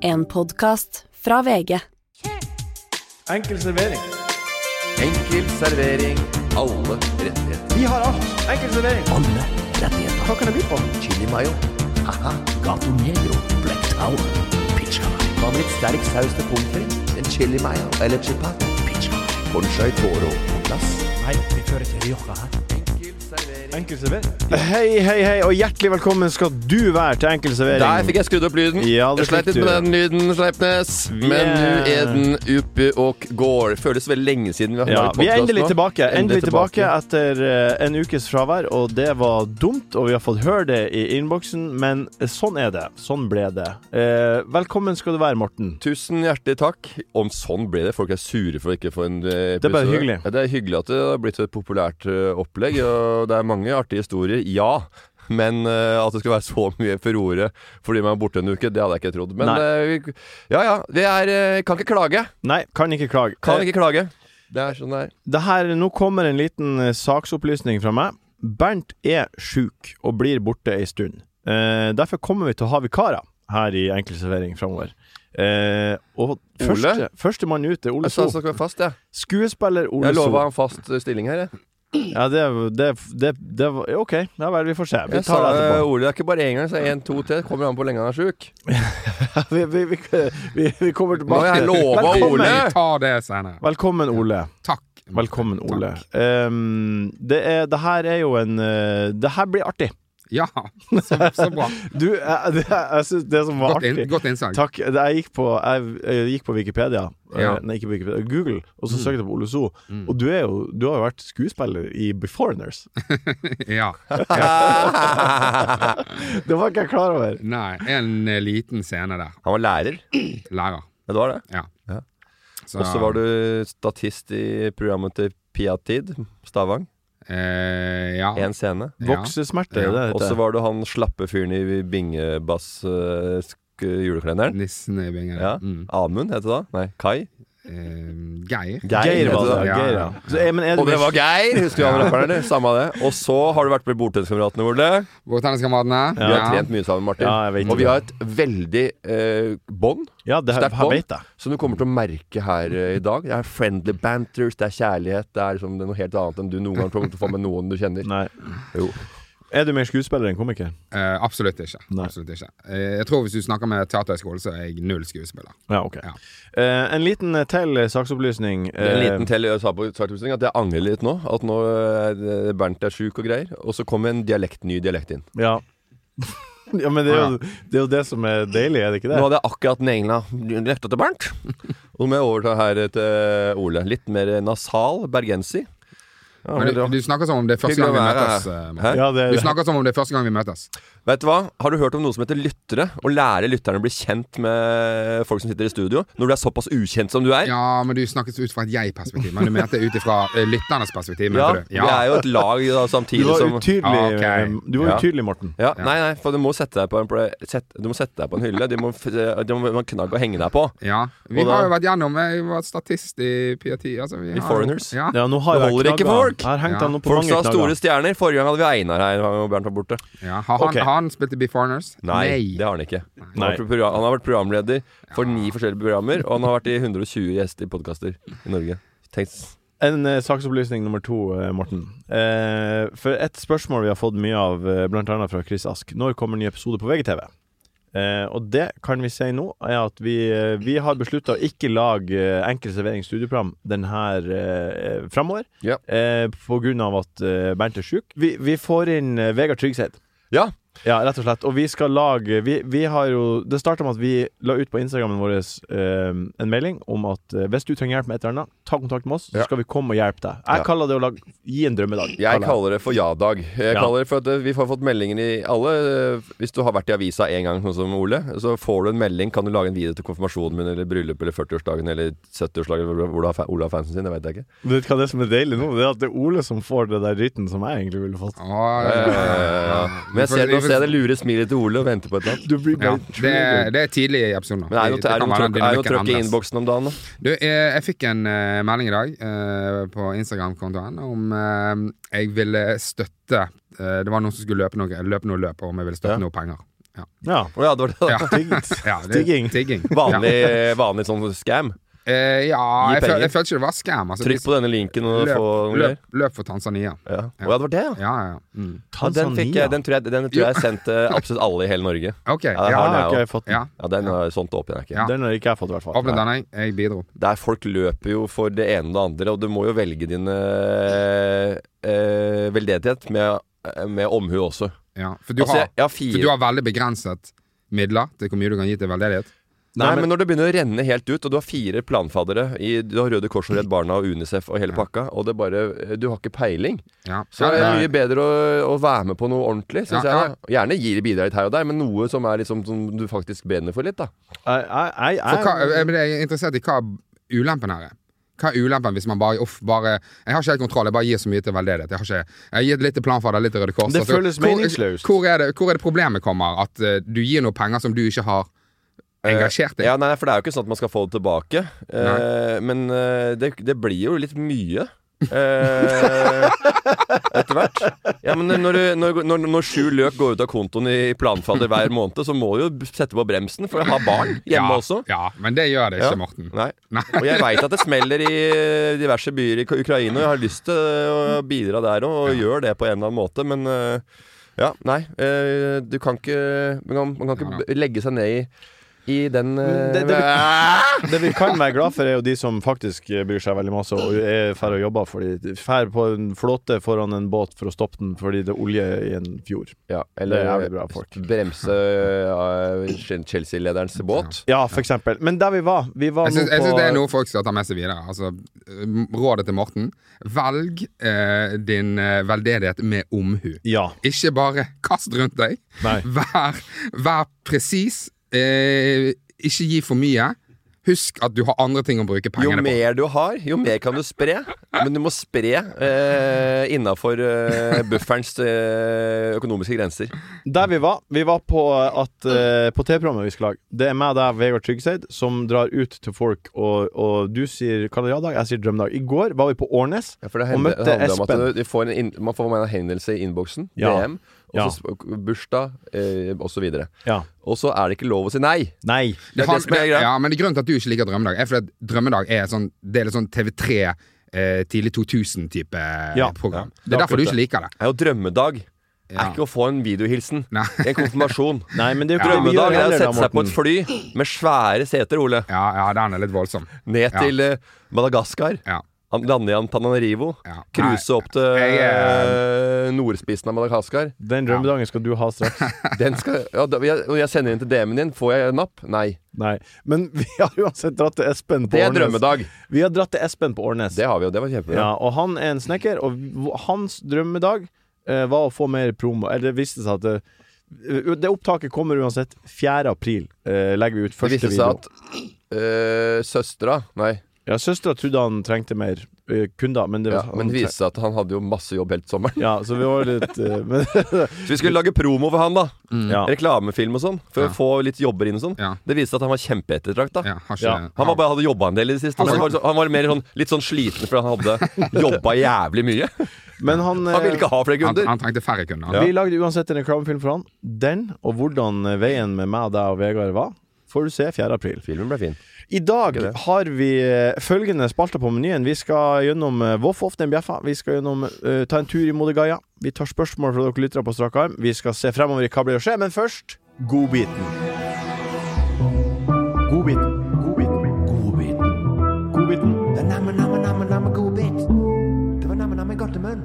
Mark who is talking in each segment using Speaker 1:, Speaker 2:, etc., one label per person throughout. Speaker 1: En podkast fra VG.
Speaker 2: Enkel servering.
Speaker 3: Enkel servering. Alle rettigheter.
Speaker 2: Vi har alt. Enkel servering.
Speaker 4: Alle rettigheter.
Speaker 2: Hva kan jeg by på?
Speaker 3: Chili mayo. Haha.
Speaker 4: Gato Negro, Black Tower, Pizza Night,
Speaker 3: Hva med litt sterk saus til pommes frites? En chili mayo eller chipat?
Speaker 4: Pizza Night.
Speaker 3: Cornchai toro på plass.
Speaker 4: Nei, vi fører til Rioja her.
Speaker 3: Enkel servering.
Speaker 2: Enkel servering. Hei, hei, hei, og hjertelig velkommen skal du være til Enkel servering.
Speaker 3: Der fikk jeg skrudd opp lyden.
Speaker 2: Ja, det
Speaker 3: jeg sleit
Speaker 2: fikk
Speaker 3: litt med
Speaker 2: du.
Speaker 3: den lyden, Sleipnes. Men nå
Speaker 2: er-
Speaker 3: er den oppe og går. Føles veldig lenge siden vi har
Speaker 2: ja,
Speaker 3: lagd
Speaker 2: vi er
Speaker 3: podcast
Speaker 2: endelig
Speaker 3: nå.
Speaker 2: tilbake. Endelig tilbake etter eh, en ukes fravær, og det var dumt, og vi har fått høre det i innboksen, men sånn er det. Sånn ble det. Eh, velkommen skal du være, Morten.
Speaker 3: Tusen hjertelig takk. Om sånn ble det. Folk er sure for å ikke få en eh, episode.
Speaker 2: Det er bare hyggelig.
Speaker 3: Ja, det er hyggelig at det har blitt et populært eh, opplegg, og det er mange artige historier. Ja. Men eh, at det skal være så mye furore fordi man er borte en uke, det hadde jeg ikke trodd. Men
Speaker 2: Nei.
Speaker 3: eh, vi, ja ja, vi er, eh, kan ikke klage.
Speaker 2: Nei, kan ikke klage. Eh,
Speaker 3: Kan ikke klage. Det er sånn det er.
Speaker 2: Det her, nå kommer en liten eh, saksopplysning fra meg. Bernt er sjuk og blir borte ei stund. Eh, derfor kommer vi til å ha vikarer her i Enkelservering framover. Eh, og
Speaker 3: Ole?
Speaker 2: første- førstemann ut er Ole
Speaker 3: Jeg sa
Speaker 2: So.
Speaker 3: jeg skal være fast, jeg.
Speaker 2: Skuespiller Ole
Speaker 3: Jeg
Speaker 2: So.
Speaker 3: lova han fast eh, stilling her, jeg.
Speaker 2: Ja, det, det, det, det var OK. Ja vel, vi får se. Vi
Speaker 3: Jeg
Speaker 2: tar
Speaker 3: sa
Speaker 2: det
Speaker 3: eh,
Speaker 2: etterpå.
Speaker 3: Ole, det er ikke bare én gang, så én, to, tre. Kommer an på hvor lenge han er sjuk.
Speaker 2: eh, Vi, vi, vi, vi, vi kommer
Speaker 3: Nå
Speaker 2: tilbake.
Speaker 3: har jeg lova
Speaker 2: Velkommen.
Speaker 3: Ole!
Speaker 5: Vi tar det senere.
Speaker 2: Velkommen, Ole.
Speaker 5: Takk.
Speaker 2: Velkommen, Ole.
Speaker 5: Takk.
Speaker 2: Ehm, det, er, det her er jo en eh, Det her blir artig.
Speaker 5: Ja, så, så bra.
Speaker 2: Du, jeg, det, jeg synes det som var
Speaker 5: Godt, inn,
Speaker 2: artig
Speaker 5: godt innsag.
Speaker 2: Takk. Det- Jeg gikk på, jeg, jeg gikk på Wikipedia,
Speaker 5: Ja.
Speaker 2: eh, nei, ikke Wikipedia, Google, og så søkte jeg på Ole So. Og du, er jo, du har jo vært skuespiller i Beforeigners.
Speaker 5: Ja.
Speaker 2: Det var ikke jeg klar over.
Speaker 5: Nei, en eh, liten scene der.
Speaker 3: Han var lærer.
Speaker 5: Lærer.
Speaker 3: Ja, det var det.
Speaker 5: Ja.
Speaker 3: Ja.
Speaker 5: Så,
Speaker 3: Og så var du statist i programmet til Piatid, Stavang.
Speaker 5: eh, Ja.
Speaker 3: Én scene.
Speaker 5: Ja.
Speaker 2: Voksesmerter,
Speaker 5: Ja.
Speaker 2: det
Speaker 3: Og så
Speaker 2: heter det.
Speaker 3: var du han slappe fyren i bingebass eh, sk- julekalenderen.
Speaker 5: Nissen i bingen.
Speaker 3: Ja.
Speaker 5: Mm.
Speaker 3: Amund het det da? Nei, Kai?
Speaker 5: Eh, Geir.
Speaker 2: Geir var det.
Speaker 5: Ja,
Speaker 2: Geir, ja.
Speaker 5: ja.
Speaker 2: Så, eh, men er
Speaker 3: Og det
Speaker 2: du-
Speaker 3: var Geir! Husker du han rapperen, eller? Samme det. Og så har du vært med Bordtenniskameratene, Ole.
Speaker 5: Bordtenniskameratene.
Speaker 3: Vi har trent mye sammen, Martin.
Speaker 2: Ja, jeg vet
Speaker 3: og
Speaker 2: det.
Speaker 3: vi har et veldig eh, bånd
Speaker 2: Ja, det her,
Speaker 3: Sterkt
Speaker 2: her
Speaker 3: bånd.
Speaker 2: vet jeg.
Speaker 3: som du kommer til å merke her eh, i dag. Det er friendly banters, det er kjærlighet. Det er, liksom, det er noe helt annet enn du noen gang kommer til å få med noen du kjenner.
Speaker 2: Nei.
Speaker 3: Jo.
Speaker 2: Er du mer skuespiller enn komiker?
Speaker 5: Eh, absolutt ikke.
Speaker 2: Nei.
Speaker 5: Absolutt ikke. Eh, jeg tror hvis du snakker med Teaterhøgskolen, så er jeg null skuespiller.
Speaker 2: Ja, ok.
Speaker 5: Ja.
Speaker 2: Eh, en liten eh, til eh, saksopplysning.
Speaker 3: Det er En
Speaker 2: Eh,
Speaker 3: liten til jeg sa på startopplysning at jeg angrer litt nå. At nå eh, Bernt er sjuk og greier. Og så kom en dialekt, ny dialekt inn.
Speaker 2: Eh, Ja. ja, men det er, jo, det er jo det som er deilig, er det ikke
Speaker 3: Nå
Speaker 2: det?
Speaker 3: hadde jeg akkurat den egna dialekta til Bernt. Og nå må jeg overta her til Ole. Litt mer nasal bergenser. Ja,
Speaker 5: Men
Speaker 3: veldig bra.
Speaker 5: du, du snakker som om det er første
Speaker 3: Hyggelig
Speaker 5: gang vi
Speaker 3: å være
Speaker 5: møtes.
Speaker 3: her.
Speaker 5: eh,
Speaker 3: Hæ?
Speaker 5: Morten.
Speaker 2: Ja, det,
Speaker 5: Du snakker som om det er første gang vi møtes.
Speaker 3: Vet du hva? Har du hørt om noe som heter lyttere? Å lære lytterne å bli kjent med folk som sitter i studio? Når du er såpass ukjent som du er?
Speaker 5: Ja, men du snakket ut fra et jeg-perspektiv. Men du mente ut ifra eh, lytternes perspektiv,
Speaker 3: Ja,
Speaker 5: mente du?
Speaker 3: Vi er jo et lag da,
Speaker 2: du
Speaker 3: samtidig
Speaker 2: var
Speaker 3: som
Speaker 2: utydelig, eh,
Speaker 5: Ja, ok.
Speaker 2: du var
Speaker 3: Ja.
Speaker 2: utydelig Morten.
Speaker 3: ja, Nei, nei, for du må sette deg på en, ple- sett- du må sette deg på en hylle. Du må, f- du må ha en knagg å henge deg på.
Speaker 5: Ja, vi
Speaker 3: Og da-
Speaker 5: har jo vært gjennom Jeg var statist i PRT. Altså, vi har jo-
Speaker 3: Foreigners?
Speaker 5: Ja.
Speaker 2: Ja, nå har
Speaker 3: Det
Speaker 2: jeg
Speaker 3: holder ikke
Speaker 2: knagger.
Speaker 3: for folk.
Speaker 2: Jeg har hengt
Speaker 5: Ja.
Speaker 2: han opp på
Speaker 3: Folk
Speaker 2: mange
Speaker 3: sa store
Speaker 2: knagger.
Speaker 3: stjerner. Forrige gang hadde vi Einar her. Og Bernt var borte.
Speaker 5: ja. Har, han,
Speaker 2: Ok.
Speaker 5: har han spilt i Be Foreigners?
Speaker 3: Nei, det har han ikke. Han
Speaker 2: Nei.
Speaker 3: har, vært program, han har vært programleder for ni forskjellige programmer, og han har vært i 120 gjester i podkaster i Norge. Tenk,
Speaker 2: En eh, saksopplysning nummer to, eh, Morten. Eh, for et spørsmål vi har fått mye av, eh, blant annet fra Chris Ask. Når kommer ny episode på VGTV? Eh, og det kan vi si nå, er at vi, eh, vi har beslutta å ikke lage eh, Enkel servering studieprogram den her eh, framover.
Speaker 3: Ja.
Speaker 2: Eh, på grunn av at eh, Bernt er sjuk. Vi, vi får inn eh, Vegard Tryggseth.
Speaker 3: Ja.
Speaker 2: Ja, rett og slett. Og vi skal lage Vi, vi har jo Det starta med at vi la ut på Instagrammen vår eh, en melding om at eh, hvis du trenger hjelp med et eller annet, ta kontakt med oss,
Speaker 3: Ja.
Speaker 2: så skal vi komme og hjelpe deg. Jeg
Speaker 3: Ja.
Speaker 2: kaller det å lage Gi en drømmedag.
Speaker 3: jeg kaller det for ja-dag. Jeg
Speaker 2: Ja.
Speaker 3: kaller det for at eh, Vi har fått meldinger i alle eh, Hvis du har vært i avisa én gang, sånn som Ole, så får du en melding. Kan du lage en video til konfirmasjonen min, eller bryllup, eller 40-årsdagen, eller 70-årsdagen, eller hvor- hvor du har fa- Ole har fansen sin? Det vet jeg ikke.
Speaker 2: Vet du hva det som er deilig nå? Det er at det er Ole som får det der dritten som jeg egentlig ville fått.
Speaker 5: Å, ja,
Speaker 3: Eh,
Speaker 5: ja, ja.
Speaker 3: Men jeg ser,
Speaker 5: Vi
Speaker 3: nå
Speaker 5: får-
Speaker 3: ser jeg det lure smilet til Ole og venter på et eller annet.
Speaker 2: Du blir
Speaker 5: ja,
Speaker 2: bare
Speaker 5: det, er, det er tidlig i episoden. nå.
Speaker 3: Men er det
Speaker 5: Det
Speaker 3: noe- er det
Speaker 5: kan
Speaker 3: noe trøkk- er
Speaker 5: være
Speaker 3: det noe
Speaker 5: dynamikken
Speaker 3: trøkk i
Speaker 5: endres.
Speaker 3: innboksen om dagen, da?
Speaker 5: Du, jeg, jeg fikk en eh, melding i dag eh, på Instagram-kontoen om eh, jeg ville støtte eh, Det var noen som skulle løpe noe løpe noe løp, om jeg ville
Speaker 3: Ja.
Speaker 5: støtte noe penger.
Speaker 2: Ja.
Speaker 3: Å ja, det var det. da.
Speaker 5: Ja.
Speaker 2: Tigg.
Speaker 5: Ja, det-
Speaker 2: Tigging.
Speaker 5: Tigging.
Speaker 3: Vanlig, vanlig sånn scam.
Speaker 5: Ja, eh, ja
Speaker 3: Gi
Speaker 5: jeg,
Speaker 3: penger.
Speaker 5: føl, jeg følte ikke det var scam. Altså,
Speaker 3: Trykk på denne linken og
Speaker 5: løp,
Speaker 3: få noen greier.
Speaker 5: løp, løp for Tanzania.
Speaker 3: Ja. Å ja, det var det, ja.
Speaker 5: Ja, ja. ja. Mm.
Speaker 3: ja
Speaker 2: sånn
Speaker 3: den, fikk jeg, den, tror jeg, den tror jeg sendte absolutt alle i hele Norge.
Speaker 5: OK.
Speaker 3: Ja, det
Speaker 5: Ja,
Speaker 3: har
Speaker 2: har ikke jeg fått.
Speaker 5: ja.
Speaker 3: Ja, den har sånt åpen jeg ikke.
Speaker 5: Ja.
Speaker 2: Den har ikke jeg fått, i hvert fall.
Speaker 5: Åpne den, jeg. Jeg bidro.
Speaker 3: Der folk løper jo for det ene og det andre, og du må jo velge din eh, eh, veldedighet med, med omhu også.
Speaker 5: Ja. For, du
Speaker 3: altså,
Speaker 5: har,
Speaker 3: jeg, jeg har
Speaker 5: for
Speaker 3: fire
Speaker 5: du har veldig begrenset midler til hvor mye du kan gi til veldedighet.
Speaker 3: Nei,
Speaker 2: Nei,
Speaker 3: men,
Speaker 2: men-
Speaker 3: når det begynner å renne helt ut, og du har fire planfaddere i, Du har Røde Kors og Redd Barna og Unicef og hele pakka, og det bare Du har ikke peiling.
Speaker 5: Ja.
Speaker 3: Så er det
Speaker 5: Ja,
Speaker 2: Nei.
Speaker 3: mye bedre å, å være med på noe ordentlig, syns
Speaker 5: Ja,
Speaker 3: jeg. Da. Gjerne gir bidrag litt her og der, men noe som, er liksom, som du faktisk brenner for litt, da.
Speaker 2: Jeg, jeg, jeg,
Speaker 5: eh, For hva,
Speaker 2: jeg,
Speaker 5: jeg ble interessert i hva ulempen her er. Hva er ulempen hvis man bare, uff, bare Jeg har ikke helt kontroll, jeg bare gir så mye til veldedighet. Jeg har ikke, jeg gir litt til Planfader, litt til Røde Kors.
Speaker 2: Det
Speaker 5: Altså,
Speaker 2: føles
Speaker 5: hvor-
Speaker 2: meningsløst.
Speaker 5: Hvor, er det- hvor er det problemet kommer? At eh, du gir noe penger som du ikke har engasjert deg i?
Speaker 3: Eh, Ja, nei, for det er jo ikke sånn at man skal få det tilbake. Eh, men eh, det, det blir jo litt mye. Eh, etter hvert. Ja, men når, du- når, når, når sju løk går ut av kontoen i planfadder hver måned, så må du jo sette på bremsen for å ha barn hjemme
Speaker 5: ja,
Speaker 3: også.
Speaker 5: Ja, men det gjør det ikke,
Speaker 3: Ja.
Speaker 5: Morten.
Speaker 3: Nei.
Speaker 5: Nei.
Speaker 3: Og jeg veit at det smeller i eh, diverse byer i Ukraina, og jeg har lyst til å bidra der òg, og gjør det på en eller annen måte, men eh, ja, nei. eh, Du kan ikke Man kan, man kan ikke
Speaker 5: Ja,
Speaker 3: b- legge seg ned i, i den eh,
Speaker 2: det, det, vi, det vi kan være glad for, er jo de som faktisk eh, bryr seg veldig masse og er færre og jobber for de Fær på en flåte foran en båt for å stoppe den fordi det er olje i en fjord.
Speaker 3: Ja,
Speaker 2: Det er
Speaker 3: eller
Speaker 2: jævlig bra folk.
Speaker 3: bremse eh, Chelsea-lederens båt.
Speaker 2: Ja, for eksempel. Men der vi var Vi var
Speaker 5: Jeg syns,
Speaker 2: nå
Speaker 5: jeg
Speaker 2: på
Speaker 5: syns det er noe folk skal ta med seg videre. Altså, m- rådet til Morten velg eh, din eh, veldedighet med omhu.
Speaker 2: Ja.
Speaker 5: Ikke bare kast rundt deg.
Speaker 2: Nei.
Speaker 5: Vær, vær presis. Eh, ikke gi for mye. Husk at du har andre ting å bruke
Speaker 3: Jo
Speaker 5: pengene på.
Speaker 3: mer du har, jo mer kan du spre. Men du må spre eh, innafor eh, bufferens eh, økonomiske grenser.
Speaker 2: Der vi var, vi var på at eh, På TV-programmet vi skal lage Det er meg, deg, Vegard Tryggeseid Som drar ut til folk Og, og du sier Kanariadag, jeg sier drømmedag I går var vi på Årnes
Speaker 3: Ja, for det,
Speaker 2: Og
Speaker 3: hender,
Speaker 2: møtte
Speaker 3: det handler om
Speaker 2: Espen.
Speaker 3: at du- du får en inn, man får med en henvendelse i innboksen,
Speaker 2: Ja.
Speaker 3: DM, og
Speaker 2: Ja.
Speaker 3: så s- bursdag eh, osv.
Speaker 2: Ja,
Speaker 3: Og så er det ikke lov å si nei.
Speaker 2: nei
Speaker 3: Det er det som er greia.
Speaker 5: ja, men det er grunnen til at du ikke liker Drømmedag, er fordi at Drømmedag er sånn, det er litt sånn TV3 eh, tidlig 2000-type
Speaker 2: Ja,
Speaker 5: eh, program.
Speaker 2: ja.
Speaker 5: Det er derfor du ikke liker det.
Speaker 3: Det er jo drømmedag. Er
Speaker 5: Ja.
Speaker 3: ikke å få en videohilsen.
Speaker 5: Nei.
Speaker 3: En konfirmasjon.
Speaker 2: Nei, men det er jo ikke det vi gjør
Speaker 3: Drømmedag er å
Speaker 2: heller da,
Speaker 3: sette seg på et
Speaker 2: Morten.
Speaker 3: fly med svære seter, Ole.
Speaker 5: Ja, ja, den er litt voldsom.
Speaker 3: Ned
Speaker 5: Ja.
Speaker 3: til eh, Madagaskar.
Speaker 5: Ja.
Speaker 3: An- Lande i Antananarivo.
Speaker 5: Ja.
Speaker 3: Cruise opp til
Speaker 5: Jeg, eh,
Speaker 3: eh, nordspissen av Madagaskar.
Speaker 2: Den drømmedagen skal du ha straks
Speaker 3: Den skal, ja, da, jeg, når jeg sender inn til DM-en din, får jeg napp? Nei.
Speaker 2: Nei Men vi har uansett dratt til Espen på
Speaker 3: Det er
Speaker 2: Årnes
Speaker 3: drømmedag.
Speaker 2: Vi har dratt til Espen på Årnes
Speaker 3: Det har vi jo. Det var kjempebra.
Speaker 2: Ja, og han er en snekker, og v- hans drømmedag eh, var å få mer promo. Eller det viste seg at det, det opptaket kommer uansett. 4. april eh, legger vi ut
Speaker 3: Det
Speaker 2: første
Speaker 3: viste
Speaker 2: video.
Speaker 3: seg at øh, søstera Nei,
Speaker 2: Ja, Søstera trodde han trengte mer eh, kunder, men det
Speaker 3: ja,
Speaker 2: var
Speaker 3: men det viste seg at han hadde jo masse jobb helt sommeren.
Speaker 2: Ja, så vi var litt eh, men,
Speaker 3: Så vi skulle lage promo for han, da.
Speaker 2: ja.
Speaker 3: Reklamefilm og sånn. For
Speaker 5: Ja.
Speaker 3: å få litt jobber inn og sånn.
Speaker 5: Ja.
Speaker 3: Det viste seg at han var kjempeettertrakta.
Speaker 5: Ja, har ikke,
Speaker 2: Ja.
Speaker 3: Han var bare, hadde jobba en del i det siste.
Speaker 5: Han
Speaker 3: Men han
Speaker 5: var-
Speaker 3: var, så- han var mer sånn, litt sånn sliten fordi han hadde jobba jævlig mye.
Speaker 2: Men han, eh,
Speaker 3: Han ville ikke ha flere
Speaker 5: han,
Speaker 3: kunder.
Speaker 5: han trengte færre kunder.
Speaker 2: Vi lagde uansett en reklamefilm for han. Den, og hvordan eh, veien med meg, deg og Vegard var, får du se 4. april.
Speaker 3: Filmen ble fin.
Speaker 2: I dag
Speaker 3: Ikke det.
Speaker 2: har vi eh, følgende spalter på menyen. Vi skal gjennom eh, Voff Off den bjeffa. Vi skal gjennom eh, ta en tur i Modegaia. Vi tar spørsmål fra dere lyttere på strak arm. Vi skal se fremover i hva blir å skje, men først Godbiten. Godbiten. Godbiten.
Speaker 4: Godbit.
Speaker 2: Godbiten.
Speaker 4: Det er namme, namme, namme, namme godbit. Det var namme, namme godt i munnen.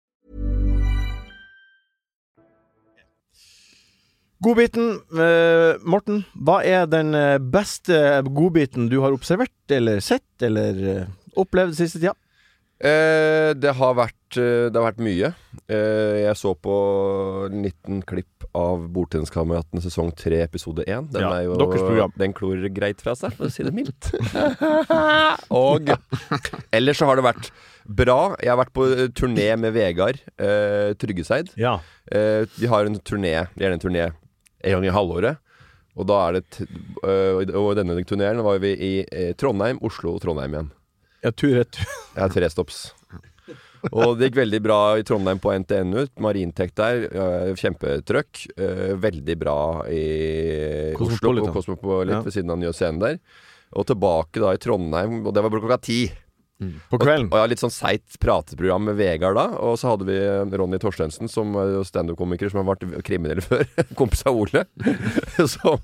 Speaker 2: Godbiten. Eh, Morten, hva er den eh, beste godbiten du har observert eller sett eller eh, opplevd siste tida?
Speaker 3: Eh, det, har vært, eh, det har vært mye. Eh, jeg så på 19 klipp av Bordtenniskameratene sesong 3, episode 1. Den,
Speaker 2: Ja,
Speaker 3: er jo,
Speaker 2: deres program.
Speaker 3: den klor greit fra seg, for å si det mildt. Og ellers så har det vært bra. Jeg har vært på eh, turné med Vegard eh, Tryggeseid.
Speaker 2: Ja.
Speaker 3: Eh, de har en turné, gjerne en turné en gang i halvåret. Og da er det t eh, og i- Og i denne turneen var vi i eh, Trondheim, Oslo og Trondheim igjen.
Speaker 2: Ja, tur retur.
Speaker 3: Jeg har tre stops. Og det gikk veldig bra i Trondheim på NTNU. Marintek der. øh, Kjempetrøkk. Øh, Veldig bra i Oslo
Speaker 2: Cosmopolitan.
Speaker 3: på Cosmopolit
Speaker 2: Ja.
Speaker 3: ved siden av den nye scenen der. Og tilbake da i Trondheim, og det var klokka ti.
Speaker 2: På kvelden.
Speaker 3: Og jeg har litt sånn seigt prateprogram med Vegard da. Og så hadde vi eh, Ronny Torstensen, som er jo standup-komiker som har vært kriminell før. Kompis av Ole. som,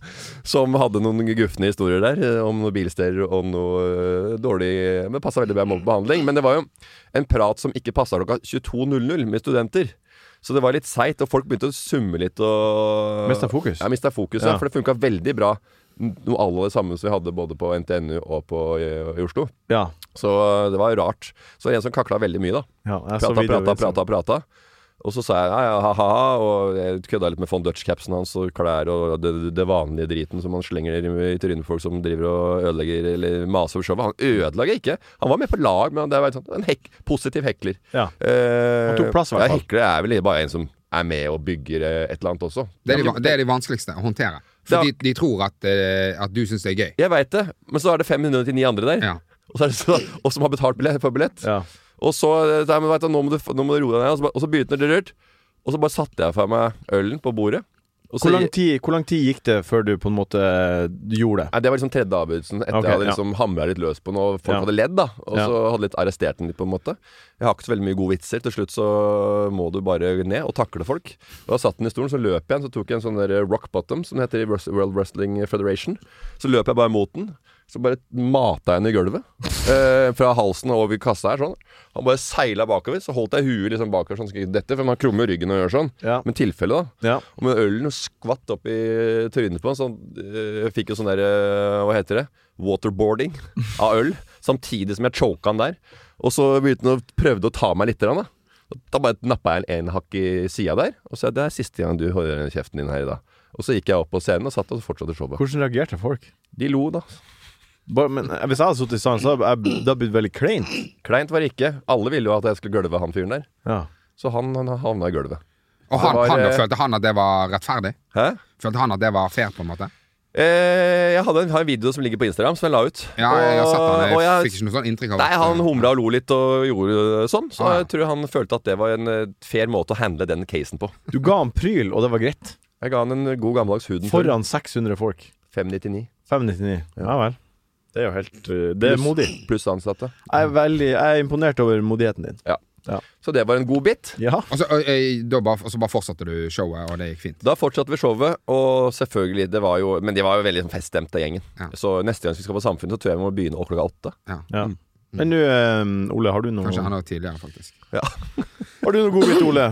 Speaker 3: som hadde noen gufne historier der eh, om noen bilsteder og noe eh, dårlig Men passa veldig bra med behandling. Men det var jo en prat som ikke passa klokka 22.00 med studenter. Så det var litt seigt, og folk begynte å summe litt og
Speaker 2: Mista fokus.
Speaker 3: Ja, mista fokus,
Speaker 2: Ja.
Speaker 3: ja. For det funka veldig bra, noe alle det samme som vi hadde både på NTNU og på, eh, i Oslo.
Speaker 2: Ja.
Speaker 3: Så eh, det var jo rart. Så det var en som kakla veldig mye, da.
Speaker 2: ja jeg så
Speaker 3: Prata,
Speaker 2: videoen,
Speaker 3: prata,
Speaker 2: jeg så.
Speaker 3: prata, prata. Og så sa jeg ja, ja, ha-ha, og jeg kødda litt med von Dutch-capsen hans og klær og det, det vanlige driten som han slenger i trynet på folk som driver og ødelegger eller maser over showet. Han ødela ikke. Han var med på lag, men det var en sånn, en hek, positiv hekler.
Speaker 2: Ja.
Speaker 3: Eh,
Speaker 2: Han tok plass, i hvert
Speaker 3: ja,
Speaker 2: fall.
Speaker 3: Hekler er vel bare en som er med og bygger eh, et eller annet også.
Speaker 5: Det er de, van- det er de vanskeligste å håndtere.
Speaker 3: Ja.
Speaker 5: Fordi de tror at, eh, at du syns det er gøy.
Speaker 3: Jeg veit det, men så er det 599 andre der,
Speaker 5: Ja.
Speaker 3: og, så er det så, og som har betalt billett, for billett.
Speaker 2: Ja.
Speaker 3: Og så eh, nei, men vet du, nå, må du, nå må du roe deg ned. Og så, bare- og så begynte det rørt. Og så bare satte jeg fra meg ølen på bordet. Og så,
Speaker 2: Hvor, lang tid, hvor lang tid gikk det før du på en måte eh, gjorde det?
Speaker 3: Nei, det var liksom tredje avbødelsen. Etter
Speaker 2: Ok,
Speaker 3: jeg hadde
Speaker 2: ja.
Speaker 3: liksom hamra litt løs på den, og folk
Speaker 2: Ja.
Speaker 3: hadde ledd, da. Og
Speaker 2: Ja.
Speaker 3: så hadde litt arrestert den litt, på en måte. Jeg har ikke så veldig mye gode vitser. Til slutt så må du bare ned og takle folk. Og da satt den i stolen, så løp jeg, så tok jeg en sånn der rock bottom, som det heter i Wres- World Wrestling Federation. Så løp jeg bare mot den. Så bare mata jeg henne i gulvet. Eh, fra halsen og over kassa her, sånn. Han bare seila bakover. Så holdt jeg huet liksom bakover, sånn. skal ikke Dette, for man krummer jo ryggen og gjør sånn.
Speaker 2: Ja.
Speaker 3: Men tilfelle, da.
Speaker 2: Ja.
Speaker 3: Og med ølen og skvatt opp i trynet på han, så han øh, fikk jo sånn der øh, Hva heter det? Waterboarding av øl. Samtidig som jeg choka han der. Og så begynte han å prøvde å ta meg litt. Da. da bare nappa jeg en, en hakk i sida der, og sa det er siste gang du holder den kjeften din her i dag. Og så gikk jeg opp på scenen og satt og fortsatte showet.
Speaker 2: Hvordan reagerte folk?
Speaker 3: De lo, da.
Speaker 2: Bare, men, eh, hvis jeg hadde sittet i salen, så hadde jeg da blitt veldig klein.
Speaker 3: Kleint var det ikke. Alle ville jo at jeg skulle gølve han fyren der.
Speaker 2: Ja.
Speaker 3: Så han, han havna i gulvet.
Speaker 5: Og
Speaker 3: Det
Speaker 5: han,
Speaker 3: var,
Speaker 5: han, da
Speaker 3: eh,
Speaker 5: følte han at det var rettferdig?
Speaker 3: Hæ?
Speaker 5: Følte han at det var fair, på en måte?
Speaker 3: Eh, jeg hadde en, har en video som ligger på Instagram, som jeg la ut.
Speaker 5: Ja, jeg, jeg har sett han.
Speaker 3: Og- og
Speaker 5: Jeg
Speaker 3: jeg-
Speaker 5: fikk ikke noe sånn inntrykk av
Speaker 3: Nei,
Speaker 5: at-
Speaker 3: han humra og lo litt og gjorde sånn, så
Speaker 5: Ah, ja.
Speaker 3: jeg tror han følte at det var en eh, fair måte å handle den casen på.
Speaker 2: Du ga han pryl, og det var greit.
Speaker 3: Jeg ga han en god gammeldags huden for
Speaker 2: Foran 600 folk.
Speaker 3: 599
Speaker 2: 599. Ja vel. Det er jo helt eh, Det er
Speaker 3: Pluss-
Speaker 2: modig.
Speaker 3: pluss ansatte.
Speaker 2: Jeg er, veldig, jeg er imponert over modigheten din.
Speaker 3: Så det var en god bit.
Speaker 2: Ja.
Speaker 5: Og så, ø, ø, da bare, og så bare fortsatte du showet, og det gikk fint.
Speaker 3: Da fortsatte vi showet, og selvfølgelig, det var jo Men de var jo veldig sånn feststemt, den gjengen.
Speaker 5: Ja.
Speaker 3: Så neste gang vi skal på Samfunnet, så tror jeg vi må begynne klokka åtte.
Speaker 5: Ja.
Speaker 2: Ja.
Speaker 3: Mm.
Speaker 2: Men nå, eh, Ole, har du noe
Speaker 5: Kanskje enda tidligere, faktisk.
Speaker 2: Har du noe godbit, Ole?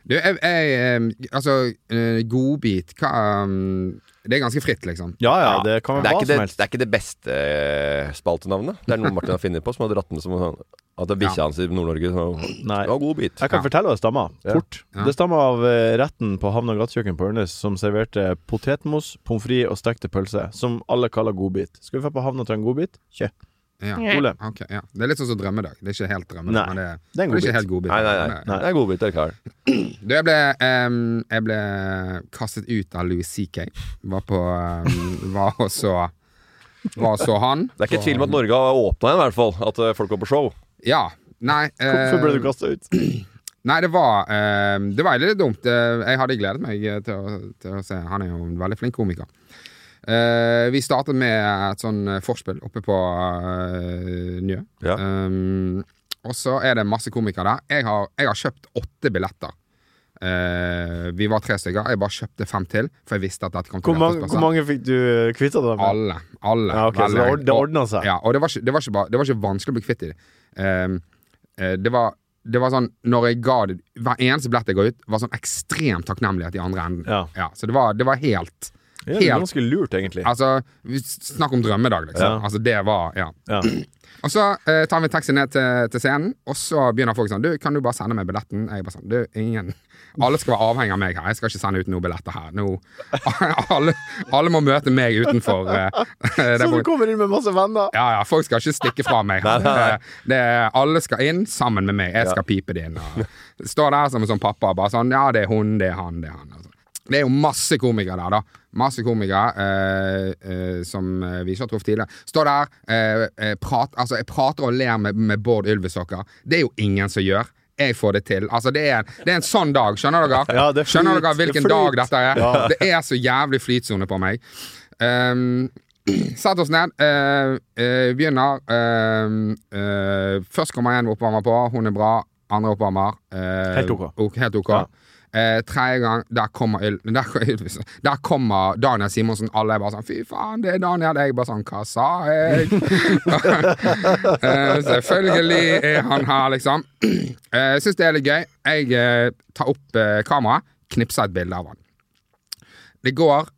Speaker 5: Du, jeg, jeg em, Altså, ø, godbit Hva em, Det er ganske fritt, liksom.
Speaker 2: Ja ja, det kan være
Speaker 3: Det er,
Speaker 2: hva
Speaker 3: ikke det,
Speaker 2: som helst.
Speaker 3: det er ikke det beste eh, spaltenavnet. Det er noe Martin har funnet på, som har dratt den som en sånn At det er bikkja hans i Nord-Norge. så-
Speaker 2: Nei.
Speaker 3: Det var en god bit.
Speaker 2: Jeg kan
Speaker 5: Ja.
Speaker 2: fortelle hva det stammer. Fort.
Speaker 5: Ja.
Speaker 2: Det stammer av eh, retten på Havna gatekjøkken på Ørnes som serverte potetmos, pommes frites og stekte pølser, som alle kaller godbit. Skal vi få på Havna til en godbit? Kjø.
Speaker 5: Ja.
Speaker 2: Ole.
Speaker 5: Ok, ja. Det er litt sånn som drømmedag. Det er ikke helt drømmedag,
Speaker 2: Nei.
Speaker 5: men
Speaker 2: Det er en
Speaker 5: det, men det er
Speaker 2: godbit.
Speaker 5: ikke helt godbit.
Speaker 3: Nei, nei,
Speaker 5: Men
Speaker 3: nei. Det
Speaker 5: det-
Speaker 3: er en god bit, det er klart.
Speaker 5: Du, jeg ble, em, jeg ble kastet ut av Louis CK. Var på em, Var og så Var og så han.
Speaker 3: Det er ikke tvil om at Norge har åpna en, i hvert fall. At eh, folk går på show.
Speaker 5: Ja. Nei. eh,
Speaker 2: Hvorfor ble du kasta ut?
Speaker 5: Nei, det var, eh, det var litt dumt. Eh, Jeg hadde gledet meg eh, til å, til å se. Han er jo en veldig flink komiker. Eh, vi startet med et sånn eh, forspill oppe på eh, Njø.
Speaker 3: Ja.
Speaker 5: Um, og så er det masse komikere der. Jeg har, jeg har kjøpt åtte billetter. Eh, vi var tre stykker. Jeg bare kjøpte fem til, for jeg visste at dette kom til
Speaker 2: Hvor
Speaker 5: å
Speaker 2: mange, hvor mange fikk du kvitta deg med?
Speaker 5: Alle. alle
Speaker 2: Ja, ok, så det
Speaker 5: Veldig.
Speaker 2: ord- det ordnet seg.
Speaker 5: Og- Ja, og det var, ikke, det, var ikke bare, det var ikke vanskelig å bli kvitt i det. Um, Ehm, eh, det var det var sånn, når jeg ga det Hver eneste billett jeg ga ut, var sånn ekstremt takknemlighet i andre enden.
Speaker 2: Ja.
Speaker 5: så det var, det var helt
Speaker 2: Ja, det er
Speaker 5: Helt.
Speaker 2: ganske lurt, egentlig.
Speaker 5: Altså, vi s- Snakk om drømmedag, liksom.
Speaker 2: Ja.
Speaker 5: Altså, det var Ja.
Speaker 2: Ja.
Speaker 5: Og så eh, tar vi en taxi ned til, til scenen, og så begynner folk sånn Du, kan du bare sende meg billetten? Jeg bare sånn Du, ingen Alle skal være avhengig av meg her. Jeg skal ikke sende ut noen billetter her. Nå alle, alle må møte meg utenfor eh, det
Speaker 2: Så du
Speaker 5: punktet.
Speaker 2: kommer inn med masse venner!
Speaker 5: Ja, ja, folk skal ikke stikke fra meg.
Speaker 3: nei.
Speaker 5: Det, det, alle skal inn sammen med meg. Jeg skal pipe det inn. Og står der som en sånn pappa bare sånn Ja, det er hun, det er han, det er han. Altså. Det er jo masse komikere der, da. Masse komikere eh, eh, som eh, vi ikke har truffet tidligere. Står der, eh, eh, prat, altså, jeg prater og ler med, med Bård Ylvesåker. Det er jo ingen som gjør. Jeg får det til. Altså, det er, det er en sånn dag, skjønner dere?
Speaker 2: Ja, det er
Speaker 5: skjønner
Speaker 2: flyt,
Speaker 5: dere
Speaker 2: det er
Speaker 5: hvilken
Speaker 2: flyt.
Speaker 5: dag dette er? Det er så jævlig flytsone på meg. Um, Sett oss ned. eh, eh, begynner. eh, eh, først kommer én oppvarmer på. Hun er bra. Andre oppvarmer. eh,
Speaker 2: Helt ok.
Speaker 5: helt ok.
Speaker 2: Ja.
Speaker 5: Eh, tredje gang, der kommer, Yl- der, der kommer Daniel Simonsen. Alle er bare sånn 'Fy faen, det er Daniel.' Jeg bare sånn 'Hva sa jeg?' Eh, selvfølgelig er han her, liksom. Eh, Syns det er litt gøy. Jeg eh, tar opp eh, kameraet, knipser et bilde av han. Det går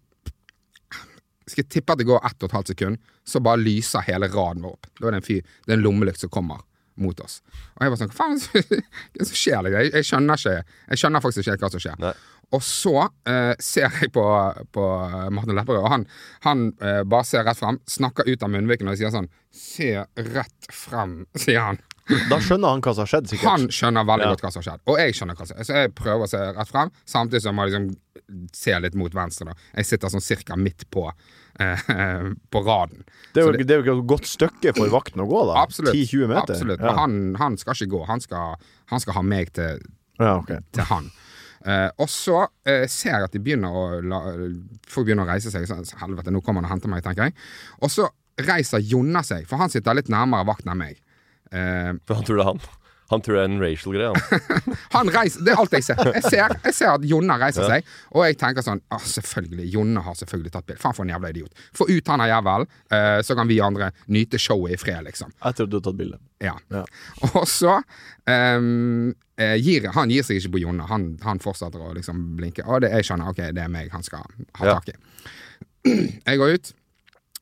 Speaker 5: skal jeg tippe at det går ett og et halvt sekund, så bare lyser hele raden vår opp. Da er det en fyr, det er en lommelykt som kommer mot oss. Og jeg bare sånn, hva faen er det som- hva er det som skjer? liksom? Jeg, jeg skjønner ikke, jeg skjønner faktisk ikke helt hva som skjer.
Speaker 3: Nei.
Speaker 5: Og så eh, ser jeg på, på Martin Lepperød, og han, han eh, bare ser rett frem, snakker ut av munnviken og sier sånn, se rett frem, sier han.
Speaker 2: Da skjønner han hva som har skjedd, sikkert.
Speaker 5: Han skjønner veldig
Speaker 2: Ja.
Speaker 5: godt hva som har skjedd, og jeg skjønner hva som har skjedd. Så jeg prøver å se rett frem, samtidig som jeg liksom ser litt mot venstre. Da. Jeg sitter sånn cirka midt på, eh, på raden.
Speaker 2: Det er,
Speaker 5: Så
Speaker 2: jo, det er jo et godt stykke for vakten å gå, da.
Speaker 5: Absolutt.
Speaker 2: 10-20 meter.
Speaker 5: Absolutt.
Speaker 2: Ja.
Speaker 5: Men han, han skal ikke gå. Han skal, han skal ha meg til,
Speaker 2: Ja, ok.
Speaker 5: til han. Eh, og så eh, ser jeg at de begynner å la, folk begynner å reise seg. Så, så helvete, nå kommer han og henter meg, tenker jeg. Og så reiser Jonna seg, for han sitter litt nærmere vakten enn meg. Eh,
Speaker 3: For han tror det er han. Han tror det er en racial greie. Han.
Speaker 5: han reiser, Det er alt jeg ser. Jeg ser, jeg ser at Jonna reiser seg, og jeg tenker sånn ah, Selvfølgelig, Jonna har selvfølgelig tatt bilde. Faen, for en jævla idiot. Få ut han her jævelen, eh, så kan vi andre nyte showet i fred, liksom.
Speaker 2: Etter at du har tatt bilde.
Speaker 5: Ja.
Speaker 2: Ja.
Speaker 5: Og så ehm, eh, gir, Han gir seg ikke på Jonna. Han, han fortsetter å liksom blinke. Å, det, jeg skjønner, ok, det er meg han skal ha
Speaker 3: Ja.
Speaker 5: tak i. Jeg går ut,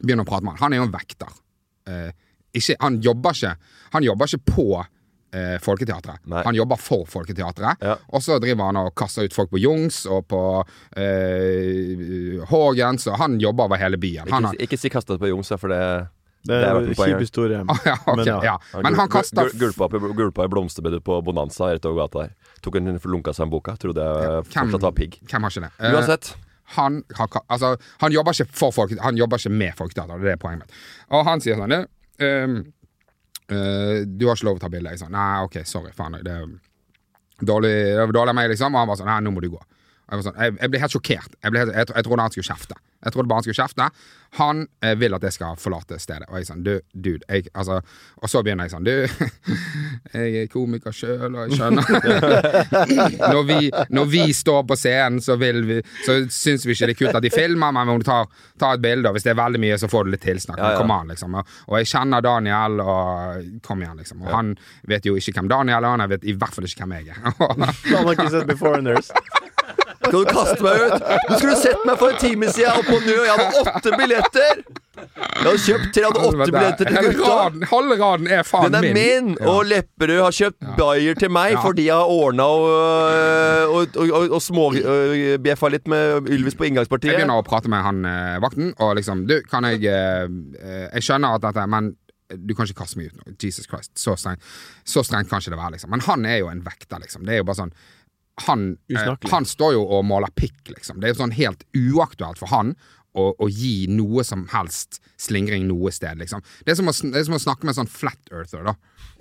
Speaker 5: begynner å prate med han. Han er jo en vekter. Eh, ikke, han, jobber ikke, han jobber ikke på eh, Folketeatret.
Speaker 3: Nei.
Speaker 5: Han jobber for Folketeatret.
Speaker 3: Ja.
Speaker 5: Og så driver han og kaster ut folk på Jungs og på eh, Hågens, og han jobber over hele byen. Han
Speaker 3: Ikke,
Speaker 5: har-
Speaker 3: ikke si 'kasta ut på Jungs', da, for det
Speaker 2: Det
Speaker 3: Det
Speaker 2: er en
Speaker 3: er verdt
Speaker 2: kjip
Speaker 3: poenget.
Speaker 2: historie.
Speaker 5: ja, ok,
Speaker 2: Men ja.
Speaker 5: ja. Men han kaster
Speaker 3: gul- gulpa, opp i- gulpa i blomsterbedet på Bonanza rett over gata her. Tok en lunka seg en boka. Trodde jeg fortsatt var pigg.
Speaker 5: Hvem har ikke det? Eh,
Speaker 3: Uansett.
Speaker 5: han, har ka- altså, han jobber ikke for folk, han jobber ikke med folketeater. Det er poenget mitt. Og han sier sånn «Du, ehm, eh, Du har ikke lov å ta bilde. Jeg sa nei, OK, sorry, faen. Det er dårlig, det var dårlig av meg, liksom. Og han var sånn nei, nå må du gå. Og Jeg, var sånn, jeg, jeg ble helt sjokkert. Jeg, ble helt, jeg, tro- jeg trodde han skulle kjefte. Jeg trodde bare Han skulle kjefte Han eh, vil at jeg skal forlate stedet. Og jeg sånn, du, dude jeg, altså, Og så begynner jeg sånn Du, jeg er komiker sjøl, og jeg skjønner når vi, når vi står på scenen, så, vil vi, så syns vi ikke det er kult at de filmer, men om du tar, tar et bilde, og hvis det er veldig mye, så får du litt tilsnakk. Men Kom an, liksom. Og, og jeg kjenner Daniel, og kom igjen, liksom. Og han vet jo ikke hvem Daniel er, og han vet i hvert fall ikke hvem jeg er.
Speaker 2: Han har ikke sett Beforeigners.
Speaker 3: Skal du kaste meg ut? Du skulle sett meg for en time siden jeg var på Njø. Jeg hadde åtte billetter! Jeg hadde kjøpt Jeg hadde åtte billetter til
Speaker 5: Hele
Speaker 3: gutta.
Speaker 5: raden- Halve raden er faen
Speaker 3: Den er
Speaker 5: min.
Speaker 3: min! Og Lepperød har kjøpt Bayer til meg
Speaker 5: Ja.
Speaker 3: fordi jeg har ordna og, og, og, og, og småbjeffa litt med Ylvis på
Speaker 5: Jeg
Speaker 3: inngangspartiet.
Speaker 5: begynner å prate med han eh, vakten, og liksom Du, kan jeg eh, eh, Jeg skjønner at dette Men eh, du kan ikke kaste meg ut nå. Jesus Christ. Så strengt, så strengt kan ikke det være, liksom. Men han er jo en vekter, liksom. Det er jo bare sånn han, eh,
Speaker 2: Usnakkelig.
Speaker 5: han står jo og måler pikk, liksom. Det er jo sånn helt uaktuelt for han å, å gi noe som helst slingring noe sted, liksom. Det er som å, sn- det er som å snakke med en sånn flat earther, da.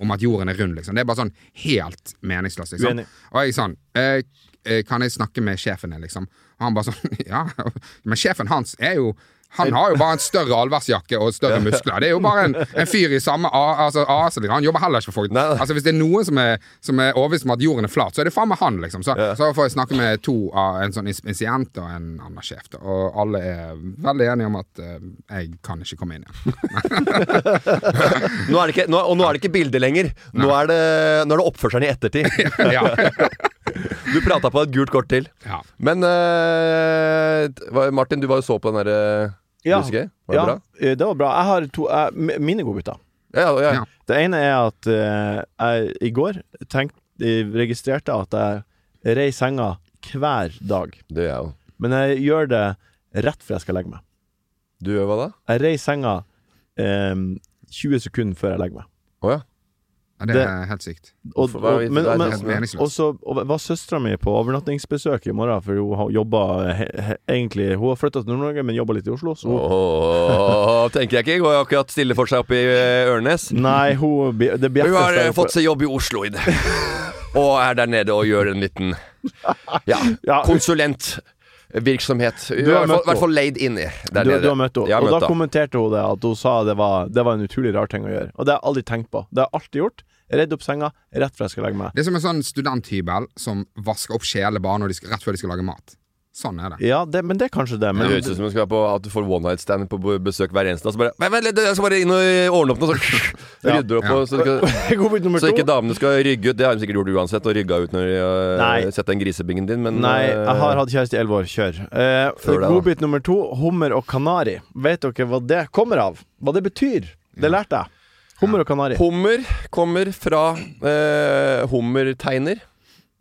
Speaker 5: Om at jorden er rund, liksom. Det er bare sånn helt meningsløst, liksom.
Speaker 2: Uenig.
Speaker 5: Og jeg sånn eh, eh, Kan jeg snakke med sjefen din, liksom? Og han bare sånn Ja. Men sjefen hans er jo Han har jo bare en større allværsjakke og større muskler. Det er jo bare en, en fyr i samme A- altså, AS. liksom. Han jobber heller ikke for folk.
Speaker 3: Nei, nei.
Speaker 5: Altså, Hvis det er noen som er, som er overbevist om at jorden er flat, så er det faen meg han, liksom. Så, så får jeg snakke med to av en sånn ins- insient og en annen sjef, da. og alle er veldig enige om at eh, jeg kan ikke komme inn igjen.
Speaker 3: Nå er det ikke, nå, og nå er det ikke bildet lenger. Nå er, det, nå er det oppførselen i ettertid.
Speaker 5: ja.
Speaker 3: Du prata på et gult kort til.
Speaker 5: Ja.
Speaker 3: Men eh, hva- Martin, du var jo så på den eh, derre
Speaker 2: Ja.
Speaker 3: Var det
Speaker 2: ja,
Speaker 3: bra?
Speaker 2: eh, det var bra. Jeg har to eh, m- mine godbiter.
Speaker 3: Ja, ja, ja.
Speaker 5: Ja.
Speaker 2: Det ene er at eh, jeg i går tenkt, eh, registrerte at jeg rei senga hver dag.
Speaker 3: Det gjør jeg jo.
Speaker 2: Men jeg gjør det rett før jeg skal legge meg.
Speaker 3: Du gjør hva da?
Speaker 2: Jeg rei senga eh, 20 sekunder før jeg legger meg.
Speaker 3: Å ja.
Speaker 5: Ja, Det er helt sykt.
Speaker 2: Og,
Speaker 3: Hvorfor-
Speaker 2: og,
Speaker 3: hva er-
Speaker 2: men,
Speaker 3: det er
Speaker 2: men,
Speaker 5: helt meningsløst.
Speaker 2: og så og var søstera mi på overnattingsbesøk i morgen, for hun har jobba he- he- egentlig Hun har flytta til Nord-Norge, men jobba litt i Oslo. Så hun,
Speaker 3: Åh, tenker jeg ikke. Går jo akkurat stille for seg oppe i eh, Ørnes.
Speaker 2: Nei, hun blir- Det blir
Speaker 3: Hun har eh, fått seg jobb i Oslo i det. Og er der nede og gjør en liten ja,
Speaker 2: Ja.
Speaker 3: konsulentvirksomhet. Hun
Speaker 2: Du har
Speaker 3: er i
Speaker 2: møtt
Speaker 3: hvert fall leid inn i der
Speaker 2: du,
Speaker 3: nede.
Speaker 2: du har møtt henne.
Speaker 3: Jeg har
Speaker 2: Og
Speaker 3: møtt
Speaker 2: da
Speaker 3: henne.
Speaker 2: kommenterte hun det at hun sa det var, det var en utrolig rar ting å gjøre. Og det har jeg aldri tenkt på. Det har jeg alltid gjort. Redd opp senga rett før jeg skal legge meg.
Speaker 5: Det er som en sånn studenthybel som vasker opp kjeler bare når de skal, rett før de skal lage mat. Sånn er det.
Speaker 2: Ja, det, men det er kanskje det.
Speaker 3: Det
Speaker 2: Men
Speaker 3: høres ut som hun skal være på at du får one night stand på b- besøk hver eneste dag. Så bare Vent, vent, litt, jeg skal bare inn og ordne opp noe, så rydder opp, og så, skal,
Speaker 2: godbit nummer
Speaker 3: så ikke
Speaker 2: to.
Speaker 3: damene skal rygge ut. Det har de sikkert gjort uansett, og rygga ut når de
Speaker 2: Nei.
Speaker 3: har eh, sett den grisebingen din, men
Speaker 2: Nei, jeg har
Speaker 3: eh,
Speaker 2: hatt kjæreste i elleve år. Kjør. Eh,
Speaker 3: Før det, da.
Speaker 2: godbit nummer to, hummer og kanari. Vet dere hva det kommer av? Hva det betyr?
Speaker 3: Mm.
Speaker 2: Det lærte jeg. Hummer og kanari.
Speaker 3: Hummer kommer fra eh, hummerteiner,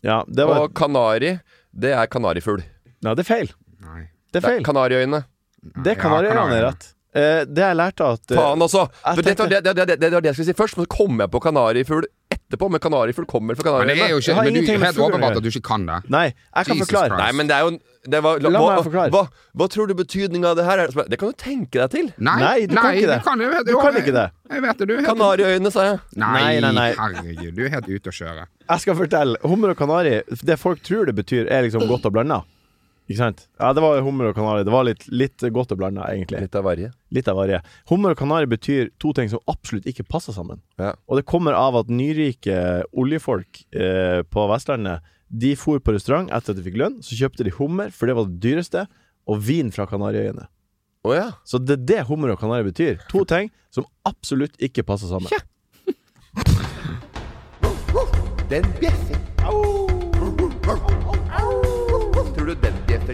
Speaker 2: Ja, det var
Speaker 3: og kanari, det er kanarifugl.
Speaker 2: Nei, det er feil.
Speaker 5: Nei.
Speaker 2: Det er
Speaker 3: Det er
Speaker 2: feil.
Speaker 3: Kanariøyene.
Speaker 2: Det
Speaker 5: Ja,
Speaker 2: kan være
Speaker 5: kanari.
Speaker 2: Ørjan er rett. Eh, det jeg lærte at eh,
Speaker 3: Faen også!
Speaker 2: jeg
Speaker 3: For dette var
Speaker 2: tenkte-
Speaker 3: det, det, det, det var det jeg skulle si først, men så kom jeg på kanarifugl etterpå. Men kanarifugl kommer fra
Speaker 5: Men det er
Speaker 3: Kanariøyene.
Speaker 5: jo
Speaker 2: Jeg
Speaker 5: ikke,
Speaker 2: har
Speaker 5: men du,
Speaker 2: ingenting med
Speaker 5: helt
Speaker 2: fuglen å gjøre.
Speaker 5: åpenbart at du ikke kan det.
Speaker 2: Nei, jeg kan
Speaker 5: Jesus
Speaker 2: forklare.
Speaker 5: Christ.
Speaker 3: Nei, men det er jo det var,
Speaker 2: La
Speaker 3: hva,
Speaker 2: meg forklare.
Speaker 3: Hva, hva tror du betydninga av det her er? Det kan du tenke deg til.
Speaker 5: Nei,
Speaker 2: Nei, du kan ikke det.
Speaker 5: jeg vet-
Speaker 2: Du kan ikke det.
Speaker 5: Jeg vet det. Du er helt-
Speaker 3: Kanariøyene, sa jeg.
Speaker 2: Nei,
Speaker 5: Nei,
Speaker 2: nei, nei.
Speaker 5: herregud, du er helt ute å kjøre.
Speaker 2: Jeg skal fortelle. Hummer og kanari, det folk tror det betyr, er liksom godt og blanda. Ikke sant? Ja, det var hummer og kanari. Det var litt, litt godt og blanda, egentlig.
Speaker 3: Litt av varje.
Speaker 2: Litt av varje. Hummer og kanari betyr to ting som absolutt ikke passer sammen.
Speaker 3: Ja.
Speaker 2: Og det kommer av at nyrike oljefolk eh, på Vestlandet De for på restaurant etter at de fikk lønn. Så kjøpte de hummer, for det var det dyreste, og vin fra Kanariøyene.
Speaker 3: Å ja.
Speaker 2: Så det er det hummer og kanari betyr. To ting som absolutt ikke passer sammen.
Speaker 3: Den bjeffer. Au. Tror du den bjeffer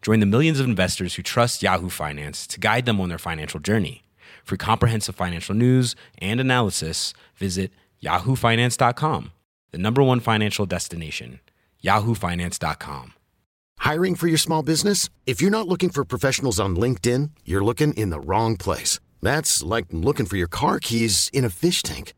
Speaker 6: Join the millions of investors who trust Yahoo Finance to guide them on their financial journey. For comprehensive financial news and analysis, visit yahoofinance.com, the number one financial destination, yahoofinance.com.
Speaker 7: Hiring for your small business? If you're not looking for professionals on LinkedIn, you're looking in the wrong place. That's like looking for your car keys in a fish tank.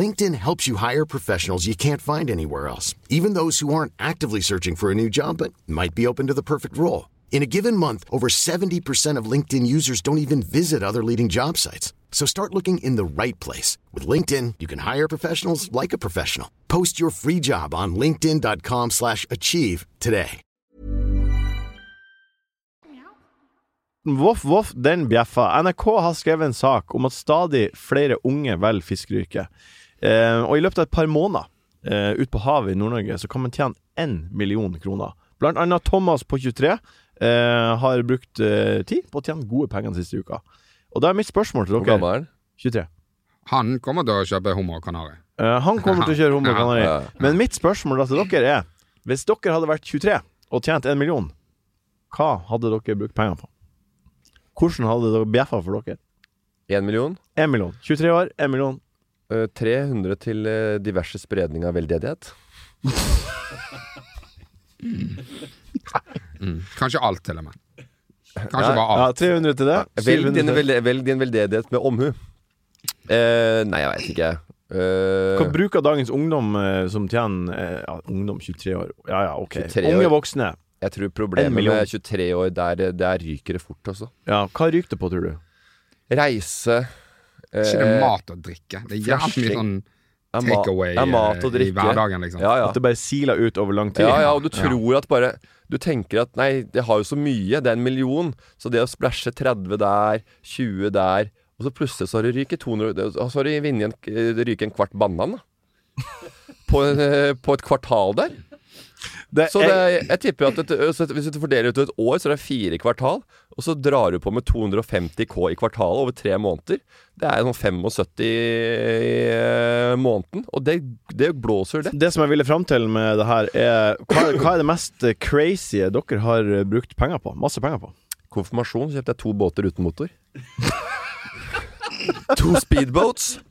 Speaker 7: LinkedIn helps you hire professionals you can't find anywhere else, even those who aren't actively searching for a new job but might be open to the perfect role. In a given month, over 70% of LinkedIn users don't even visit other leading job sites. So start looking in the right place. With LinkedIn, you can hire professionals like a professional. Post your free job on linkedin.com/achieve slash achieve today.
Speaker 2: Voff, voff, den bjeffa. NRK har skrevet en sak om at stadig flere unge velger fiskeryrket. Eh, og i løpet av et par måneder eh, ut på havet i Nord-Norge så kan man tjene én million kroner. Blant annet Thomas på 23 eh, har brukt eh, tid på å tjene gode penger den siste uka. Og da er mitt spørsmål til
Speaker 3: Hvor
Speaker 2: dere.
Speaker 3: gammel er den?
Speaker 2: 23.
Speaker 5: Han kommer til å kjøpe hummer og kanari.
Speaker 2: Eh, han kommer til å kjøre hummer og kanari.
Speaker 3: Ja.
Speaker 2: Men mitt spørsmål da til dere er Hvis dere hadde vært 23 og tjent en million, hva hadde dere brukt pengene på? Hvordan hadde dere bjeffa for dere?
Speaker 3: Én million?
Speaker 2: 1 million. 23 år, 1 million.
Speaker 3: Eh, 300 til eh, diverse spredning av veldedighet.
Speaker 5: Kanskje alt, til og med. Kanskje
Speaker 3: Nei,
Speaker 5: bare
Speaker 2: Ja,
Speaker 5: alt.
Speaker 2: 300 til det.
Speaker 3: Velg
Speaker 2: 700
Speaker 3: din,
Speaker 2: til-
Speaker 3: velde, velg din veldedighet med omhu. Eh, nei, jeg veit ikke. Eh,
Speaker 2: Hva bruker dagens ungdom eh, som tjener eh, ja, Ungdom 23 år, ja ja, ok.
Speaker 3: 23 år.
Speaker 2: Unge voksne.
Speaker 3: jeg tror
Speaker 2: En
Speaker 3: problemet
Speaker 2: million.
Speaker 3: med 23 år, der, der ryker det fort, altså.
Speaker 2: Ja, hva ryker det på, tror du?
Speaker 3: Reise eh,
Speaker 5: Ikke det mat og drikke. Det er jævlig mye
Speaker 3: flashing.
Speaker 5: sånn
Speaker 3: er ma-
Speaker 5: takeaway
Speaker 3: er mat og
Speaker 5: eh, i
Speaker 3: drikke.
Speaker 5: hverdagen, liksom.
Speaker 3: Ja, ja.
Speaker 2: At det bare siler ut over lang tid?
Speaker 3: Ja, ja, og du tror at bare Du tenker at nei, det har jo så mye, det er en million. Så det å splæsje 30 der, 20 der Og så plutselig så har du ryket 200 det- og Så har du vunnet en, eh, det ryker en kvart banan, da. På, eh, på et kvartal der.
Speaker 2: Det,
Speaker 3: Så det,
Speaker 2: jeg,
Speaker 3: er- jeg tipper at et, så hvis du fordeler utover et år, så er det fire kvartal. Og så drar du på med 250 K i kvartalet over tre måneder. Det er sånn 75 i eh, måneden. Og det, det blåser, det.
Speaker 2: det som jeg ville fram til med det her, er hva, hva er det mest eh, crazy dere har eh, brukt penger på? Masse penger på.
Speaker 3: Konfirmasjon kjøpte jeg to båter uten motor. to speedboats.